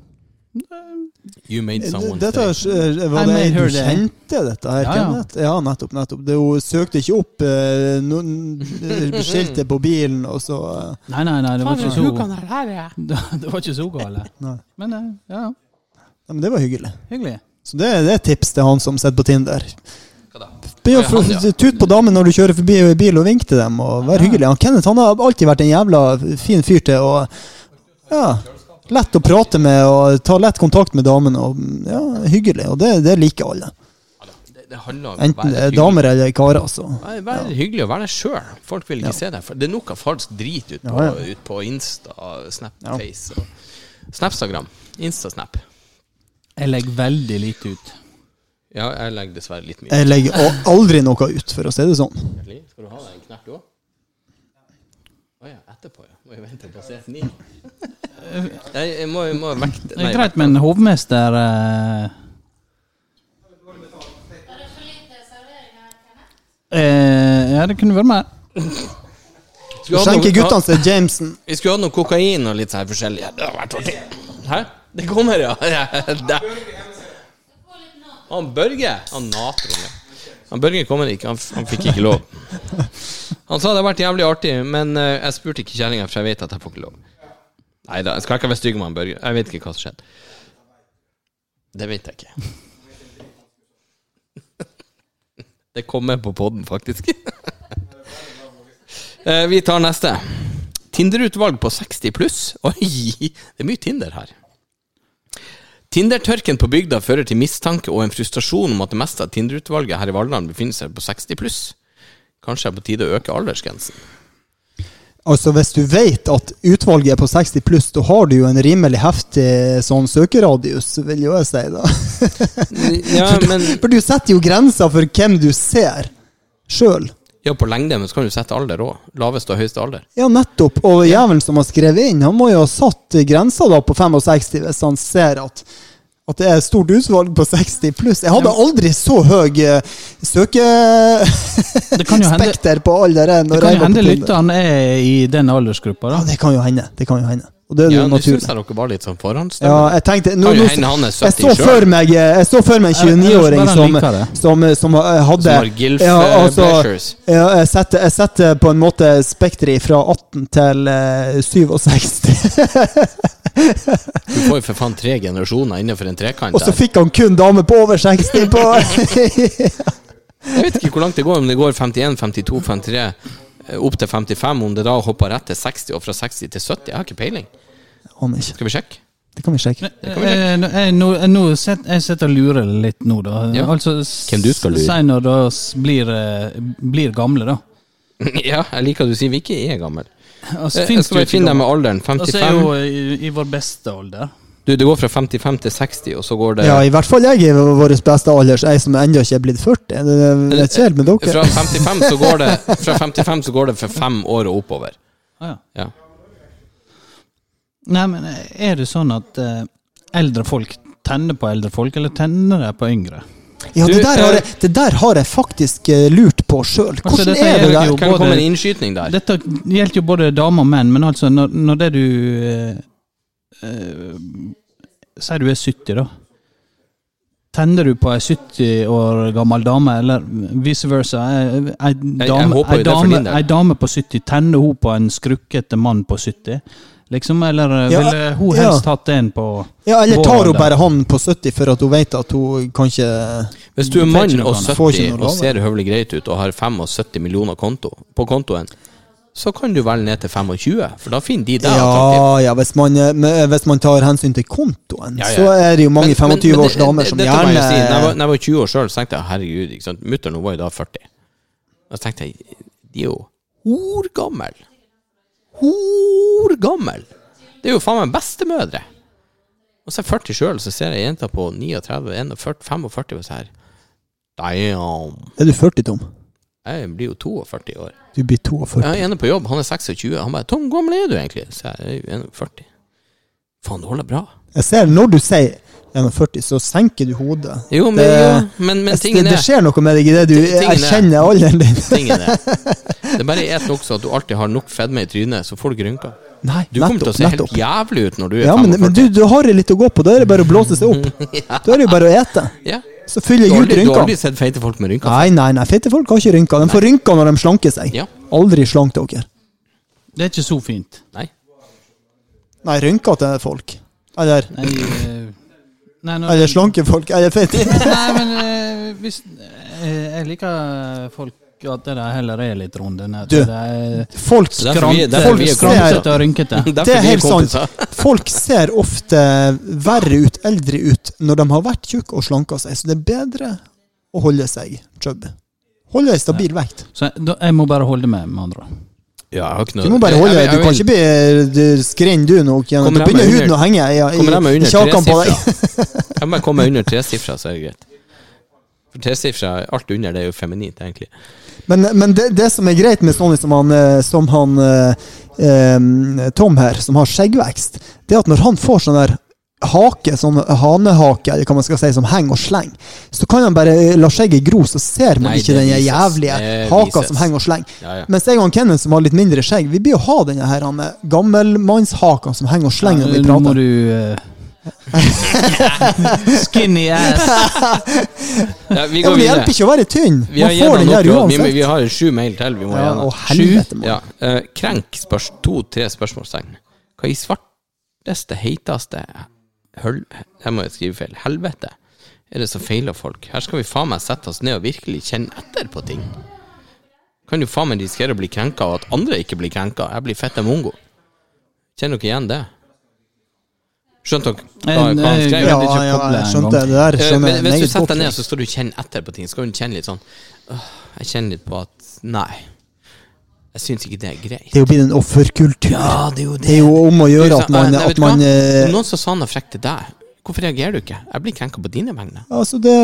S3: You made someone's
S2: Dette
S3: day.
S2: er, eh, var
S4: I
S2: det
S4: made
S2: du
S4: her day.
S2: kjente, dette her,
S4: Ja, ja.
S2: Kenneth? Ja, nettopp. nettopp. Det, hun søkte ikke opp eh, noen skiltet på bilen, og så eh,
S4: Nei, nei, nei, det var ikke så,
S1: her, her er jeg.
S4: [laughs] det var ikke så gale.
S2: Nei.
S4: Men eh, ja,
S2: ja, Men det var hyggelig.
S4: hyggelig.
S2: Så det, det er et tips til han som sitter på Tinder.
S3: da?
S2: Begynn å
S3: Ja, han, ja.
S2: fr- tute på damen når du kjører forbi i bil, og vink til dem, og vær hyggelig. Han Kenneth han har alltid vært en jævla fin fyr til å Ja. Lett å prate med, og ta lett kontakt med damene. Og, ja, hyggelig. Og det, det liker alle.
S3: Det, det handler om å
S2: Enten det
S3: være
S2: er
S3: hyggelig.
S2: damer eller karer, altså. så.
S3: Vær, vær hyggelig og vær deg sjøl. Folk vil ikke se deg. For det er nok av falsk drit ut på,
S2: Ja, ja.
S3: ut på Insta, Snap,
S2: Ja.
S3: Face og Snapstagram. Instasnap.
S4: Jeg legger veldig lite ut.
S3: Ja, jeg legger dessverre litt mye.
S2: Jeg legger a- aldri noe ut, for å si det sånn.
S3: Skal du ha deg en knert òg? Å ja, etterpå, ja. Må jo vente til passert
S2: [laughs]
S3: ni. Nei, jeg må, jeg må vekte
S4: Det er greit med en hovmester eh, eh, Ja, det kunne vært mer.
S3: Skulle hatt noe-
S2: Skjenke guttene seg Jameson.
S3: Vi skulle hatt noe kokain og litt sånn her forskjellig. Ja, Det har vært artig. Hæ? Det kommer, ja. ja. det- Han Børge? Han Natron, ja. Han Børge kommer ikke, han, f- han fikk ikke lov. Han sa det har vært jævlig artig, men eh, jeg spurte ikke kjerringa, for jeg vet at jeg får ikke lov. Nei da, jeg skal ikke være stygg med han Børge. Jeg vet ikke hva som skjedde. Det vet jeg ikke. Det kommer på poden, faktisk. [laughs] Eh, Vi tar neste. Tinder-utvalg på 60 pluss. [laughs] Oi, det er mye Tinder her. Tinder-tørken på bygda fører til mistanke og en frustrasjon om at det meste av Tinder-utvalget her i Valldalen befinner seg på 60 pluss. Kanskje er det på tide å øke aldersgrensen.
S2: Altså Hvis du vet at utvalget er på 60 pluss, da har du jo en rimelig heftig sånn søkeradius, vil jo jeg si. da.
S3: Ja, [laughs] men
S2: For du setter jo grenser for hvem du ser sjøl.
S3: ja, på lengde, men så kan du sette alder òg. Laveste og høyeste alder.
S2: Ja, nettopp. Og jævelen som har skrevet inn, han må jo ha satt grensa da på 65 hvis han ser at, at det er stort utvalg på 60 pluss. Jeg hadde aldri så høy eh,
S3: [laughs]
S2: søkespekter
S4: Det kan jo hende,
S2: på alder. jeg,
S4: det
S2: når
S4: kan
S2: jeg
S4: jo
S2: var på
S4: hende
S2: Tinder.
S4: lytteren er i den aldersgruppa,
S2: Ja,
S4: da.
S2: det kan jo hende. Det kan jo hende. Og det er
S3: Ja,
S2: jo
S3: Nå syns
S2: naturlig.
S3: jeg dere var litt sånn
S2: Ja,
S3: forhåndsdømmende.
S2: jeg tenkte nå,
S3: Kan jo
S2: nå,
S3: hende han er
S2: Jeg
S3: 70
S2: så
S3: selv.
S2: for meg, eh, jeg så for meg en
S4: Eller- eller så
S2: 29-åring
S4: bare han
S2: som,
S4: liker det.
S2: som, eh, som hadde
S3: Som har gilf,
S2: ja,
S3: eh,
S2: altså,
S3: pleasures.
S2: ja, jeg, setter, jeg setter på en måte spekteret fra 18 til eh, 67.
S3: Du får jo for faen tre generasjoner innenfor en trekant
S2: Og så
S3: der.
S2: fikk han kun dame på over 60
S3: [laughs]
S2: på
S3: Jeg vet ikke hvor langt det går, om det går 51, 52, 53, eh, opp til 55, om det da hopper rett til 60, og fra 60 til 70. Jeg har ikke peiling.
S2: Aner ikke.
S3: Skal vi sjekke?
S2: Det kan vi sjekke.
S4: Eh, nå- Jeg, nå, jeg, nå sitter- jeg sitter og lurer litt nå, da.
S3: Ja.
S4: Altså,
S3: Hvem du skal lure?
S4: Si når da s- blir, eh, blir gamle, da.
S3: [laughs] Ja, jeg liker at du sier vi ikke er gammel.
S4: Og så
S3: Jeg
S4: Altså, finnes
S3: Eh, skal
S4: det
S3: bare
S4: jo ikke
S3: finne deg med
S4: gamle.
S3: alderen.
S4: Og så er jo
S3: 55.
S4: i, i vår beste alder.
S3: Du, det går fra 55 til 60, og så går det
S2: Ja, i hvert fall jeg er vår beste alder, så jeg som ennå ikke er blitt 40. Det er litt kjedelig med
S3: Fra
S2: dere.
S3: 55 så går det Fra 55 så går det for fem år og oppover.
S4: Ah, ja.
S3: Ja.
S4: Nei, men er det sånn at eh, eldre folk tenner på eldre folk, eller tenner de på yngre?
S2: Ja,
S3: Du,
S2: det der har
S3: eh,
S2: jeg, det der har jeg faktisk eh, lurt på sjøl.
S4: Altså,
S2: Hvordan
S4: dette
S2: er
S4: er
S2: det der?
S4: jo
S3: Det kan jo
S4: både-
S3: komme en innskyting der.
S4: Dette gjelder jo både damer og menn, men altså, når, når det du eh, eh, Sier du er 70, da. Tenner du på ei 70 år gammel dame, eller vice versa? Ei- Ei
S3: jeg
S4: dame,
S3: håper jo
S4: ei
S3: det er for din
S4: dame,
S3: del.
S4: ei dame på 70, tenner hun på en skrukkete mann på 70? Liksom, eller eh,
S2: Ja,
S4: ville hun
S2: ja.
S4: helst hatt en på
S2: Ja, eller
S4: vår
S2: tar hun
S4: alder?
S2: bare han på 70 for at hun vet at hun kan ikke
S3: Hvis du er
S4: Får ikke
S3: mann
S4: noe
S3: og
S4: annet.
S2: Får ikke
S3: 70
S2: noe
S3: og
S2: lavere.
S3: ser høvelig greit ut og har 75 millioner konto, på kontoen, så kan du velge ned til 25, for da finner de deg attraktiv.
S2: Ja, ja, hvis man, eh, men hvis man tar hensyn til kontoen,
S3: Ja, ja.
S2: så er det jo mange
S3: Men- men- men det-
S2: 25-års damer
S3: det-
S2: som
S3: dette må jeg jo si. Når jeg var,
S2: gjerne
S3: når jeg var 20 år sjøl, tenkte jeg herregud, ikke sant? mutter'n var jo da 40. Og så tenkte jeg de er jo horgammel. Horgammel! Det er jo faen meg bestemødre! Og så er jeg 40 sjøl, så ser jeg jenter på 39, 41, 45 og så her Damn!
S2: Er du 40, Tom?
S3: Jeg blir jo 42 i år.
S2: Du blir 42.
S3: Jeg er ene på jobb, han er 26. Han bare 'Tom, hvor gammel er du egentlig?' Så jeg jeg er jo 41. Faen, du holder bra.
S2: Jeg ser når du sier 41, så senker du hodet.
S3: Jo, men,
S2: Det-
S3: jo, men, men
S2: det,
S3: tingen
S2: det
S3: er
S2: skjer noe med deg idet du
S3: Ti- tingen er-
S2: erkjenner alderen din.
S3: [laughs] Tingen er Det bare er nok så at du alltid har nok fedme i trynet, så får du ikke rynker.
S2: Nei,
S3: Du kommer til å se helt jævlig ut når du er
S2: ja, men,
S3: 45.
S2: men du, du har litt å gå på. Da er det bare å blåse seg opp.
S3: [laughs]
S2: Da er det jo bare å ete.
S3: ja.
S2: Så fyller
S3: Du har aldri,
S2: jeg ut
S3: du har aldri
S2: rynker.
S3: sett feite folk med rynker?
S2: Nei, nei, nei. Fete folk har ikke rynker. De får rynker når de slanker seg.
S3: Ja.
S2: Aldri slank dere.
S4: Det er ikke så fint.
S3: Nei.
S2: Nei, rynker til folk. Eller,
S4: Nei, eh, nei, når-
S2: eller slanke folk. Eller [laughs] fete.
S4: Nei, men eh, hvis eh, Jeg liker folk at de heller er litt runde. enn at
S2: Du,
S4: de er
S2: Folk
S3: Så derfor vi- derfor
S2: folk
S3: vi er
S2: ser-
S4: skrantete og rynkete.
S3: [laughs] Derfor
S2: Det er
S3: vi
S2: helt
S3: kompiser.
S2: sant. [laughs] Folk ser ofte verre ut, eldre ut, når de har vært tjukke og slanka seg. Så det er bedre å holde seg chubby. Holde ei stabil vekt.
S4: Så jeg, da, jeg må bare holde med, med andre ord.
S3: Ja, jeg har ikke noe
S2: Du må bare
S3: Jeg-
S2: holde
S3: jeg- jeg
S2: deg. Du kan
S3: vil-
S2: ikke bli skrinn du nok. igjen.
S3: Kommer
S2: Da
S3: jeg
S2: begynner
S3: meg
S2: huden
S3: under-
S2: å henge i, i,
S3: Kommer jeg meg
S2: i
S3: under
S2: kjakan på deg.
S3: tresifra? Jeg må bare komme under tresifra, så er det greit. For tresifra, alt under, det er jo feminint,
S2: [laughs]
S3: egentlig.
S2: Men, men det, det som er greit med Sonny, som han, eh, som han eh, eh, Tom her, som har skjeggvekst, det er at når han får sånn der hake, sånn hanehake, eller hva man skal si, som henger og slenger, så kan han bare eh, la skjegget gro, så ser man
S3: Nei,
S2: ikke
S3: det
S2: den
S3: vises.
S2: jævlige
S3: Det
S2: haka
S3: vises.
S2: som henger og slenger.
S3: Ja, ja.
S2: Mens jeg og han Kenneth, som har litt mindre skjegg, vi blir jo ha denne her han, eh, gammelmannshaka som henger og slenger når vi
S4: Nå må
S2: prater.
S4: du eh, Skinny ass.
S3: Ja, vi går
S2: Ja, men det hjelper
S3: videre.
S2: ikke å være tynn!
S3: Vi har
S2: Man får
S3: gjennom
S2: den
S3: nok råd.
S2: der
S3: Vi, må-
S2: uansett.
S3: vi har sju mail til vi må
S2: Ja,
S3: gjennom.
S2: og helvete, mann.
S3: Ja. eh, krenk spørs to-tre spørsmålstegn. Hva i svarteste, heiteste høl... Jeg må jo skrive feil. Helvete. Er det så feil av folk? Her skal vi faen meg sette oss ned og virkelig kjenne etter på ting. Kan du faen meg risikere å bli krenka, og at andre ikke blir krenka? Jeg blir fette mongo. Kjenner dere igjen det? Skjønte dere hva, hva han
S4: Eh,
S3: skrev?
S2: Ja,
S4: Jeg vet ikke
S2: ja,
S4: koblet
S2: jeg
S4: en
S2: skjønte
S4: gang.
S2: det der.
S3: Eh,
S2: Skjønner
S3: Men
S2: jeg
S3: hvis du
S2: meget
S3: setter
S2: godt.
S3: deg ned, så skal du kjenne etter på ting. Så Skal du kjenne litt sånn «Åh, Jeg kjenner litt på at Nei, jeg syns ikke det er greit.
S2: Det er jo blitt en offerkultur.
S3: Ja, det er jo det.
S2: Det er jo om å gjøre
S3: Du
S2: at
S3: sa, «Åh,
S2: man,
S3: nei, vet
S2: at
S3: du
S2: man
S3: hva?
S2: eh,
S3: Noen som sa noe frekt til deg. Hvorfor reagerer du ikke? Jeg blir krenka på dine vegne.
S2: Altså det,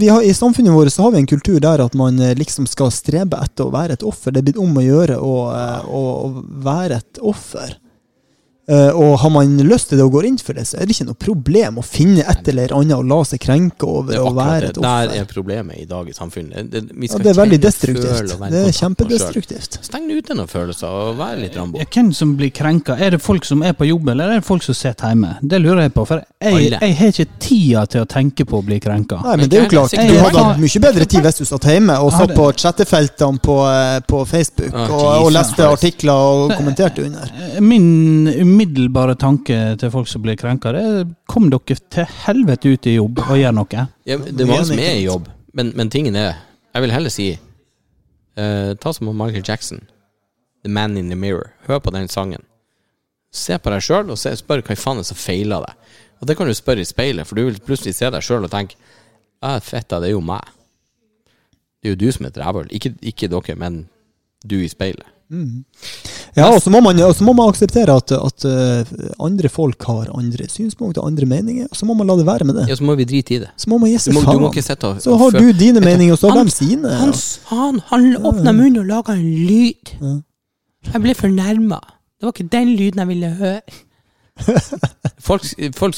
S2: vi har, I samfunnet vårt så har vi en kultur der at man eh, liksom skal strebe etter å være et offer. Det er blitt om å gjøre å, eh, å, å være et offer. Eh, og har man lyst til det og går inn for det, så er det ikke noe problem å finne et eller annet og la seg krenke over
S3: Det er
S2: å
S3: akkurat
S2: være
S3: det.
S2: et
S3: Der er
S2: offer.
S3: problemet i dag i samfunnet. Det, vi
S2: Ja,
S3: skal
S2: det er
S3: kjenne,
S2: veldig
S3: føle
S2: destruktivt.
S3: og være
S2: Det
S3: i kontakt med
S2: er
S3: oss selv.
S2: kjempedestruktivt.
S3: Steng ute noen følelser og vær litt Rambo.
S4: Ja, Hvem som blir krenka? Er det folk som er på jobb, eller er det folk som sitter hjemme? Det lurer jeg på, for jeg,
S3: Alle.
S4: jeg har ikke tida til å tenke på å bli krenka.
S2: Nei, men det
S3: Men
S2: er jo klart.
S3: det er
S2: Du
S4: sikkert-
S2: hadde hatt mye bedre tid hvis du satt hjemme og
S4: Ja,
S2: satt
S4: det-
S2: på chattefeltene på, eh, på Facebook
S3: Ah,
S2: og, og
S3: Jesus
S2: leste
S3: Christ.
S2: artikler og kommenterte
S3: [laughs]
S2: under.
S4: Min umiddelbare tanke til folk som blir krenka, det er kom dere til helvete ut i jobb og gjør noe.
S3: Ja, det er mange som er i jobb, men, men tingen er Jeg vil heller si eh, Ta som Michael Jackson, The Man in the Mirror. Hør på den sangen. Se på deg sjøl og se, spør hva i faen er som feiler deg. Og det kan du spørre i speilet, for du vil plutselig se deg sjøl og tenke Ja, fetta, det er jo meg. Det er jo du som er et rævhull. Ikke, ikke dere, men du i speilet.
S2: Ja, og så må man, og så må man akseptere at, at eh, andre folk har andre synspunkter, andre meninger, og så må man la det være med det.
S3: Ja, så må vi drite i det.
S2: Så må man gi
S3: Du
S2: seg
S3: må, du
S2: faen.
S3: må ikke sitte og
S2: Så har
S3: og
S2: du
S3: føle-
S2: dine
S3: Vet du,
S2: meninger, og så har
S3: han-
S2: de sine.
S3: Han faen, han åpna munnen og laga en lyd. Jeg ble fornærma. Det var ikke den lyden jeg ville høre. folk, folk,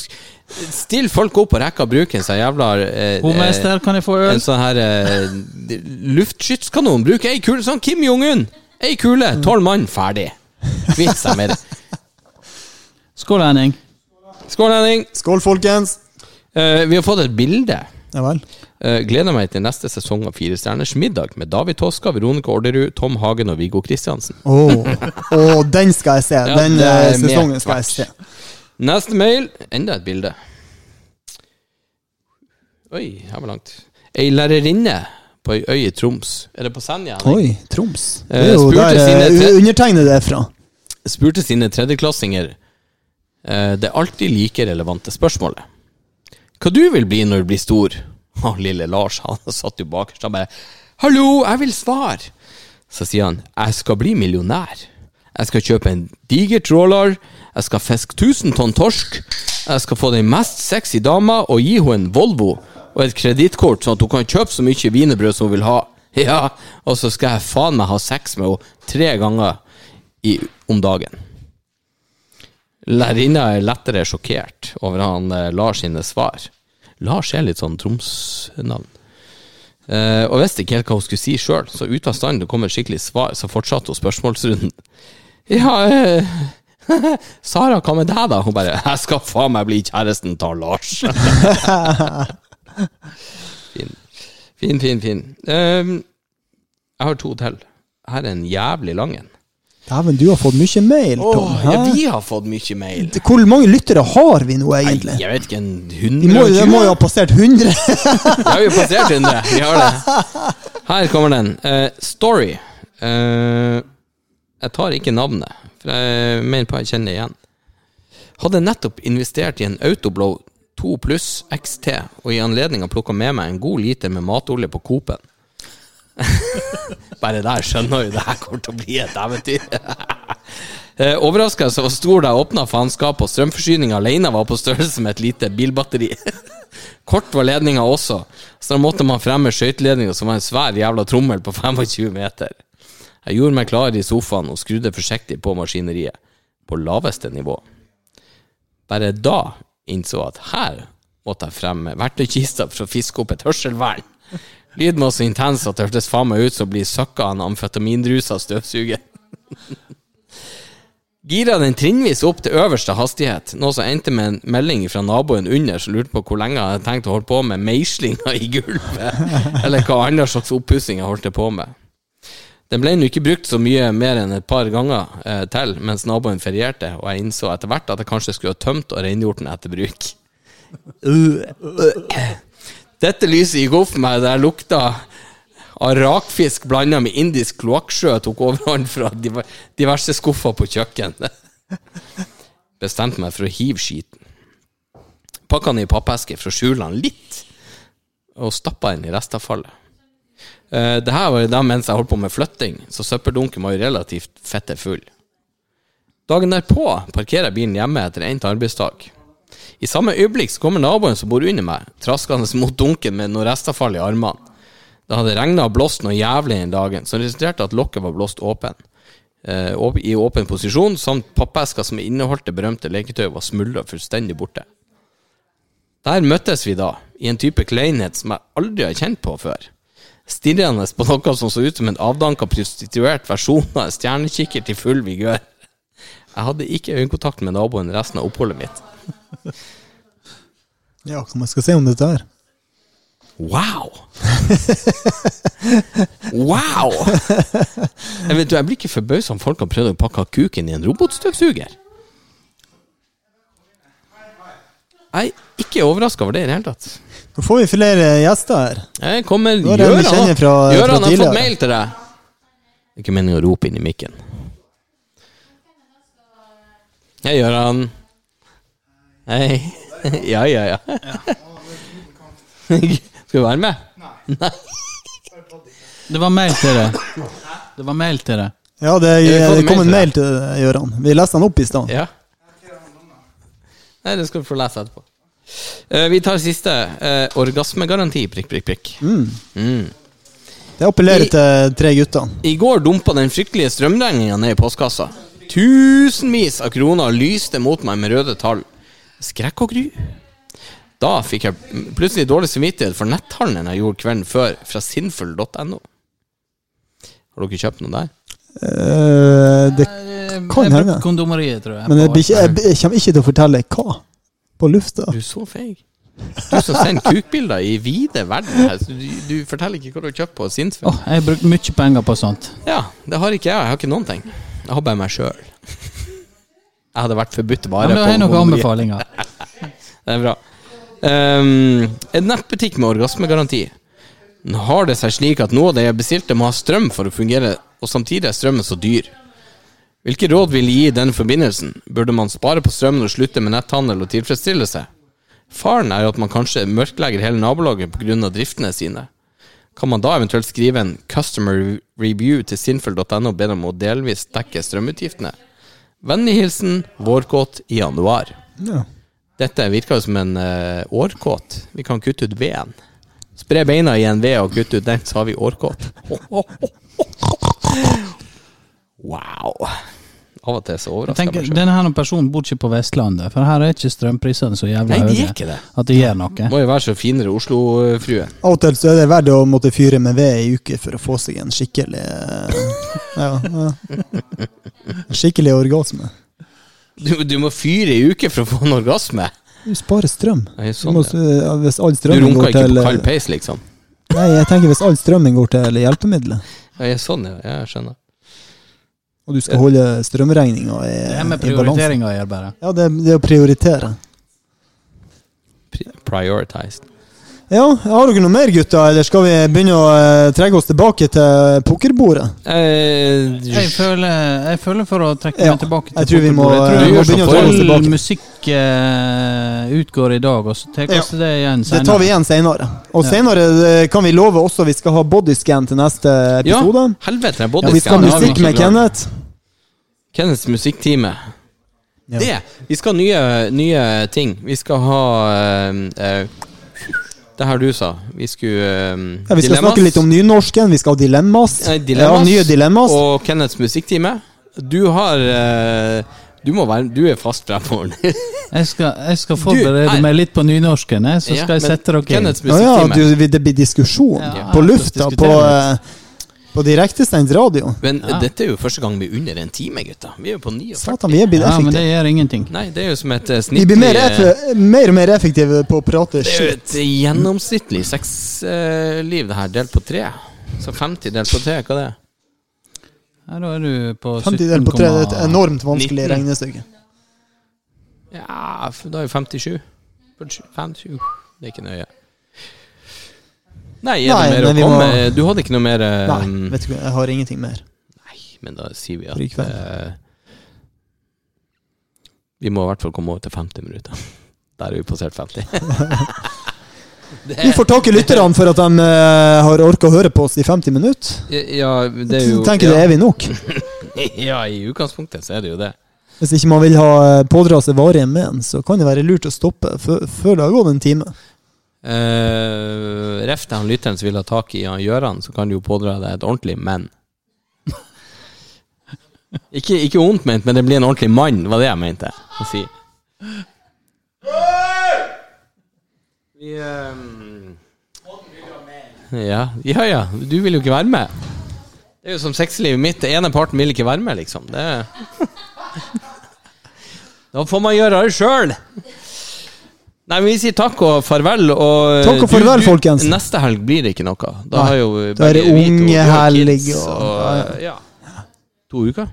S3: still folk opp på rekka og bruk en sånn jævla eh, eh,
S4: Hovmester, kan jeg få
S3: En
S4: øl?
S3: sånn her eh, luftskytskanon. Bruk ei kule, sånn Kim Jong-un. Ei kule, tolv mann, ferdig. Kvitt seg med det.
S4: Skål, Henning.
S3: Skål, Henning.
S2: Skål, folkens!
S3: Eh, vi har fått et bilde.
S2: Ja vel.
S3: Eh, Gleder meg til neste sesong av Fire stjerners middag med David Toska, Veronica Orderud, Tom Hagen og Viggo Kristiansen.
S2: Åh, åh, den skal jeg se. Den
S3: det
S2: eh,
S3: er med
S2: sesongen skal jeg se.
S3: tvert. Neste mail. Enda et bilde. Oi, her var langt. Ei lærerinne på ei øy i Troms Er det på Senja? Henning?
S2: Oi, Troms. Det
S3: Eh,
S2: er jo
S3: spurte
S2: der eh,
S3: sine tre-
S2: undertegnede er fra.
S3: Spurte sine tredjeklassinger eh, det alltid like relevante spørsmålet. Hva du vil bli når du blir stor? [laughs] Og lille Lars han [laughs] satt jo bakerst og bare 'Hallo, jeg vil svare!' Så sier han 'Jeg skal bli millionær'. 'Jeg skal kjøpe en diger tråler'. 'Jeg skal fiske 1000 tonn torsk'. 'Jeg skal få den mest sexy dama og gi henne en Volvo' og et kredittkort, sånn at hun kan kjøpe så mye wienerbrød som hun vil ha. [laughs] Ja, og så skal jeg faen meg ha sex med henne tre ganger i, om dagen. Lærerinna er lettere sjokkert over han eh, Lars sine svar. Lars er litt sånn Troms-navn. Eh, og visste ikke helt hva hun skulle si sjøl, så ut av stand det kom et skikkelig svar, så fortsatte hun spørsmålsrunden. [laughs] Ja, eh, [laughs] Sara, hva med deg, da? Hun bare 'Jeg skal faen meg bli kjæresten til Lars'. [laughs] fin, fin, fin. fin. Ehm, jeg har to til. Her er en jævlig lang en.
S2: Dæven, du har fått mye mail, Tom.
S3: Åh, ja,
S2: hæ?
S3: vi har fått mye mail.
S2: Hvor mange lyttere har vi nå, egentlig?
S3: Jeg vet ikke, en
S2: Vi må, det
S3: 120?
S2: må jo ha passert 100.
S3: Vi har jo passert 100. Vi har det. Her kommer den. Eh, story. Eh, jeg tar ikke navnet, for jeg mener på jeg kjenner det igjen. Hadde nettopp investert i en Autoblow 2 pluss XT, og i anledninga plukka med meg en god liter med matolje på Coop-en. [laughs] Bare der skjønner jo det her kommer til å bli et eventyr. [laughs] Eh, Overraskelse var stor da jeg åpna faenskapet, og strømforsyninga alene var på størrelse med et lite bilbatteri. Kort var ledninga også, så da måtte man fremme skøyteledninga, som var en svær jævla trommel på [laughs] 25 meter. Jeg gjorde meg klar i sofaen og skrudde forsiktig på maskineriet, på laveste nivå. Bare da innså jeg at her måtte jeg fremme verktøykista for å fiske opp et hørselvern. Lyden var så intens at det hørtes faen meg ut som å bli søkka av en amfetamindrusa støvsuger. Gira den trinnvis opp til øverste hastighet, noe som endte med en melding fra naboen under som lurte på hvor lenge jeg hadde tenkt å holde på med meislinga i gulvet, [laughs] eller hva andre slags oppussing jeg holdt på med. Den ble nå ikke brukt så mye mer enn et par ganger eh, til mens naboen ferierte, og jeg innså etter hvert at jeg kanskje skulle ha tømt og rengjort den etter bruk. [laughs] Dette lyset gikk opp for meg der lukta av rakfisk blanda med indisk kloakksjø tok overhånd fra diver- diverse skuffer på kjøkkenet. [laughs] Bestemte meg for å hive skiten. Pakka den i pappeske for å skjule den litt, og stappa den i restavfallet. Eh, det her var jo da mens jeg holdt på med flytting, så søppeldunken var jo relativt fette full. Dagen derpå parkerer jeg bilen hjemme etter endt arbeidsdag. I samme øyeblikk så kommer naboen som bor under meg, traskende mot dunken med noe restavfall i armene. Det hadde regna og blåst noe jævlig den dagen, som resulterte at lokket var blåst åpen. Eh, åp- I åpen posisjon, samt pappesker som inneholdt det berømte leketøyet, var smuldra fullstendig borte. Der møttes vi da, i en type kleinhet som jeg aldri har kjent på før. Stirrende på noe som så ut som en avdanka prostituert versjon av en stjernekikkert i full vigør. Jeg hadde ikke øyekontakt med naboen resten av oppholdet mitt.
S2: [laughs] Ja, hva man skal si om dette her?
S3: Wow! Wow! Jeg, vet, du, jeg blir ikke forbausa om folk har prøvd å pakke kuken i en robotstøvsuger. Jeg er ikke overraska over det i det hele tatt.
S2: Nå får vi flere gjester her.
S3: Jeg kommer
S2: Nå er det en vi
S3: Gøran
S2: kjenner
S3: har-
S2: fra- fra
S3: Gøran har
S2: tidligere.
S3: fått mail til deg! Det er ikke meningen å rope inn i mikken. Hei, Gøran. Hei. [laughs] Ja, ja, ja. Skal du være med?
S4: Det var mail til deg. Det var mail til deg.
S2: Ja, det,
S3: vi fått en
S2: kom en
S3: mail
S2: mail til deg, Gøran. Vi leste den opp i stad.
S3: Ja. Nei, det skal du få lese etterpå. Eh, vi tar siste. eh, orgasmegaranti, prikk, prikk, prikk.
S2: Det appellerer
S3: Vi-
S2: til tre gutter.
S3: I går dumpa den fryktelige strømregninga ned i postkassa. Tusenvis av kroner lyste mot meg med røde tall. Skrekk og gru. Da fikk jeg plutselig dårlig samvittighet for netthandelen jeg gjorde kvelden før, fra sinnfull.no. Har dere kjøpt noe der?
S2: Eh, det, Kan
S4: jeg brukte
S2: hende.
S4: kondomeriet, tror jeg.
S2: men jeg,
S4: på-
S2: blir ikke- jeg, jeg kommer ikke til å fortelle hva på lufta.
S3: Du er så feig. Du som sender kukbilder i vide verden. her, så Du, du forteller ikke hva du har kjøpt på Sinnfull.
S4: Åh, jeg har brukt mye penger på sånt.
S3: Ja, det har ikke jeg. Jeg har ikke noen ting. Jeg har bare meg sjøl. Jeg hadde vært forbudt
S4: Ja,
S3: bare
S4: men da har jeg noen
S3: homofili.
S4: anbefalinger.
S3: Det er bra. Um, en nettbutikk med orgasmegaranti. Nå har det seg slik at noe av det jeg bestilte, må ha strøm for å fungere, og samtidig er strømmen så dyr. Hvilke råd vil gi i den forbindelsen? Burde man spare på strømmen og slutte med netthandel og tilfredsstille seg? Faren er jo at man kanskje mørklegger hele nabolaget pga. driftene sine. Kan man da eventuelt skrive en customer review til sinful.no og be dem å delvis dekke strømutgiftene? Vennlig hilsen vårkåt i januar.
S2: Ja.
S3: Dette virker jo som en eh, årkåt. Vi kan kutte ut veden. Spre beina i en ved og kutte ut den, så har vi årkåt. Wow. Av og til så
S4: Jeg
S3: overrasker jeg
S4: tenker,
S3: meg selv.
S4: Denne her personen bor ikke på Vestlandet, for her er ikke strømprisene så jævlig
S3: Nei, de er
S4: høye
S3: ikke det.
S4: at det gjør noe.
S3: Må jo være så finere Oslo-frue.
S2: Av og til så er det verdt å måtte fyre med ved ei uke for å få seg en skikkelig eh, ja, ja. En Skikkelig orgasme.
S3: Du, du må fyre i uke for å få en orgasme.
S2: Du sparer strøm.
S3: Nei,
S2: Du
S3: sånn,
S2: må,
S3: ja.
S2: ja, hvis all
S3: Du
S2: strømmen
S3: runker
S2: går
S3: ikke
S2: til
S3: på kald peis, liksom?
S2: Nei, jeg tenker hvis all strømmen går til hjelpemiddelet,
S3: Ja, ja, sånn, ja. ja. Jeg skjønner.
S2: og du skal holde strømregninga i,
S4: Det er med
S2: i balanse
S4: prioriteringa å gjøre, bare.
S2: Ja, det, det er å prioritere.
S3: Pri- Prioritized.
S2: Ja, har dere noe mer, gutter, eller skal vi begynne å eh, trekke oss tilbake til pokerbordet?
S3: Eh,
S4: Jeg føler, jeg føler for å trekke
S2: Ja,
S4: meg tilbake til
S2: jeg tror vi må,
S3: vi
S4: pokerbordet. jeg
S3: må
S4: tror
S3: begynne å
S4: all
S3: ta oss
S2: tilbake.
S4: musikk eh, utgår i dag, og så tar vi oss det igjen
S2: Det tar vi
S4: senere.
S2: igjen senere. Og
S4: Ja.
S2: senere eh, kan vi love også vi skal ha bodyscan til neste
S3: ja,
S2: episode.
S3: helvete, jeg
S2: Ja,
S3: både
S2: vi skal ha
S4: det har vi
S2: musikk
S4: ikke
S2: med
S4: klart.
S2: Kenneth.
S3: Kenneths musikktime.
S2: Ja.
S3: Det! Vi skal ha nye, nye ting. Vi skal ha ehm, eh, Det her du sa. Vi skulle ehm,
S2: Ja, vi skal
S3: dilemmas.
S2: snakke litt om nynorsken, vi skal ha dilemmas.
S3: Nei, dilemmas,
S2: Ja, nye dilemmas.
S3: Og Kenneths musikktime. Du har eh, Du må være Du er fast fremover.
S4: Jeg skal, jeg skal
S3: nei.
S4: forberede meg litt på nynorsken, jeg, [laughs] så
S3: Ja,
S4: skal jeg
S3: men
S4: sette dere inn.
S3: Kenneths
S2: Ja, ja,
S3: musikktimen.
S2: du, det blir diskusjon
S4: Ja,
S2: på
S4: ja,
S2: lufta,
S4: diskutere
S2: på,
S4: litt.
S2: eh, På direktesendt radio.
S3: Men
S4: Ja.
S3: dette er jo første gang vi er under en time, gutta. Vi er jo på 49.
S2: Satan, vi er blitt
S4: Ja, men
S2: effektive.
S4: det gjør ingenting.
S3: Nei, det er jo som et eh,
S2: Vi
S3: snittlig
S2: blir mer,
S3: eh,
S2: eff mer og mer effektive på å prate
S3: Det er jo et
S2: shit.
S3: gjennomsnittlig sexliv, det her, delt på tre. Så 50 delt på tre, hva det er
S4: Ja, da er du på 17,
S2: 50 delt på 3 er et enormt vanskelig
S3: 19.
S2: regnestykke.
S3: Ja, for da er jo 57. 57 Det er ikke nøye. Nei, er
S2: Nei,
S3: det mer å
S2: men vi
S3: komme?
S2: må-
S3: Du hadde ikke noe mer eh,
S2: Nei, vet du hva, jeg har ingenting mer.
S3: nei, men da sier vi
S2: For i
S3: at
S2: kveld.
S3: eh, Vi må i hvert fall komme over til 50 minutter. Der er vi passert
S2: [laughs]
S3: 50. det,
S2: Vi får takke lytterne for at de eh, har orka å høre på oss i 50 minutter.
S3: Ja, det er
S2: Jeg
S3: jo
S2: tenker det
S3: ja,
S2: er vi nok.
S3: [laughs] ja, i utgangspunktet så er det jo det.
S2: Hvis ikke man vil ha eh, pådra seg varige men, så kan det være lurt å stoppe fø- før det har gått en time.
S3: Uh, Ref til han lytteren som vil ha tak i han Gjøran, så kan du jo pådra deg et ordentlig men. ikke, ikke ondt ment, men det blir en ordentlig mann, var det jeg mente å si. Vi ja, ja, ja. Du vil jo ikke være med. Det er jo som sexlivet mitt. Den ene parten vil ikke være med, liksom. Det... [laughs] da får man gjøre det sjøl. Nei, men vi sier takk og farvel. Og eh,
S2: Takk og
S3: du-
S2: farvel,
S3: du-
S2: folkens.
S3: Neste helg blir det ikke noe. Da
S2: Nei.
S3: har jo
S2: Da er det
S3: begge vi to-
S2: unge
S3: du har kids,
S2: helg og-
S3: og ja. To uker.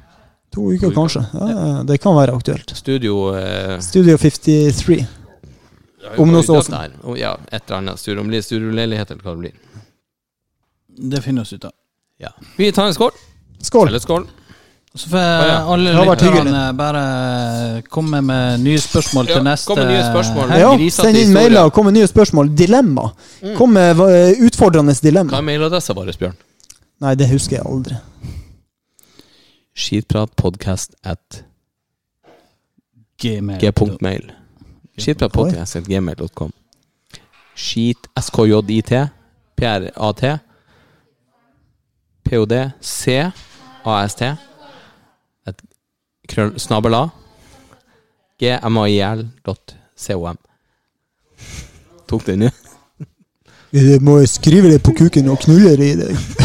S2: To uker, kanskje. Ja, ja, det kan være aktuelt.
S3: Studio eh,
S2: Studio 53. Om noe så-
S3: Der. Og Ja, et eller annet. Studio, om det blir studioleilighet, eller hva det blir.
S4: Det finner vi ut av.
S3: Ja. Vi tar en skål.
S2: Skål!
S3: Eller skål.
S4: Så får
S3: ja.
S4: alle
S2: Det har vært
S4: lytterne bare komme med nye spørsmål til
S3: Ja,
S4: neste
S3: kom med nye spørsmål.
S4: helg.
S2: Ja,
S3: griser til
S2: send inn
S3: historie.
S2: mailer, kom med nye spørsmål. Dilemma! Kom med eh, utfordrende
S3: Hva
S2: dilemma.
S3: er mailadressa vår, Bjørn?
S2: Nei, det husker jeg aldri.
S3: Skitpratpodkast at
S4: Gmail.
S3: g.mail. Skitpratpodkast at gmail.com. Skit skjit prat pod c ast at krøll snabela gmail dot com. Tok den, ja?
S2: Du Eh, må skrive det på kuken og knulle det i deg. [laughs]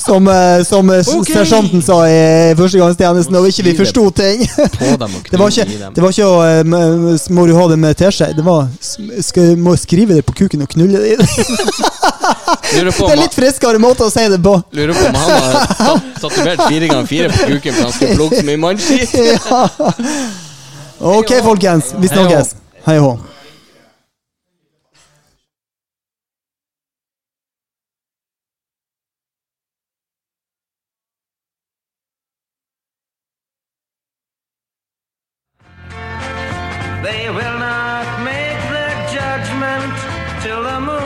S2: som eh, som eh, s-
S3: Ok.
S2: sersjanten sa i eh, førstegangstjenesten, og ikke
S3: Skriv
S2: vi
S3: det.
S2: forsto ting.
S3: På dem og
S2: Det var
S3: knull i
S2: ikke,
S3: dem.
S2: det var ikke å eh, m- s- Må du ha det med teskje? Det var s- skal, Må skrive det på kuken og knulle det [laughs] i deg.
S3: Lurer på om
S2: Det er litt friskere måte å si det på. [laughs]
S3: Lurer på om han har tat- tatovert fire ganger fire på kuken for han skal plukke så mye mannskitt.
S2: ja. Ok, folkens. Vi snakkes. Hei og hå.
S1: They will not make their judgment till the moon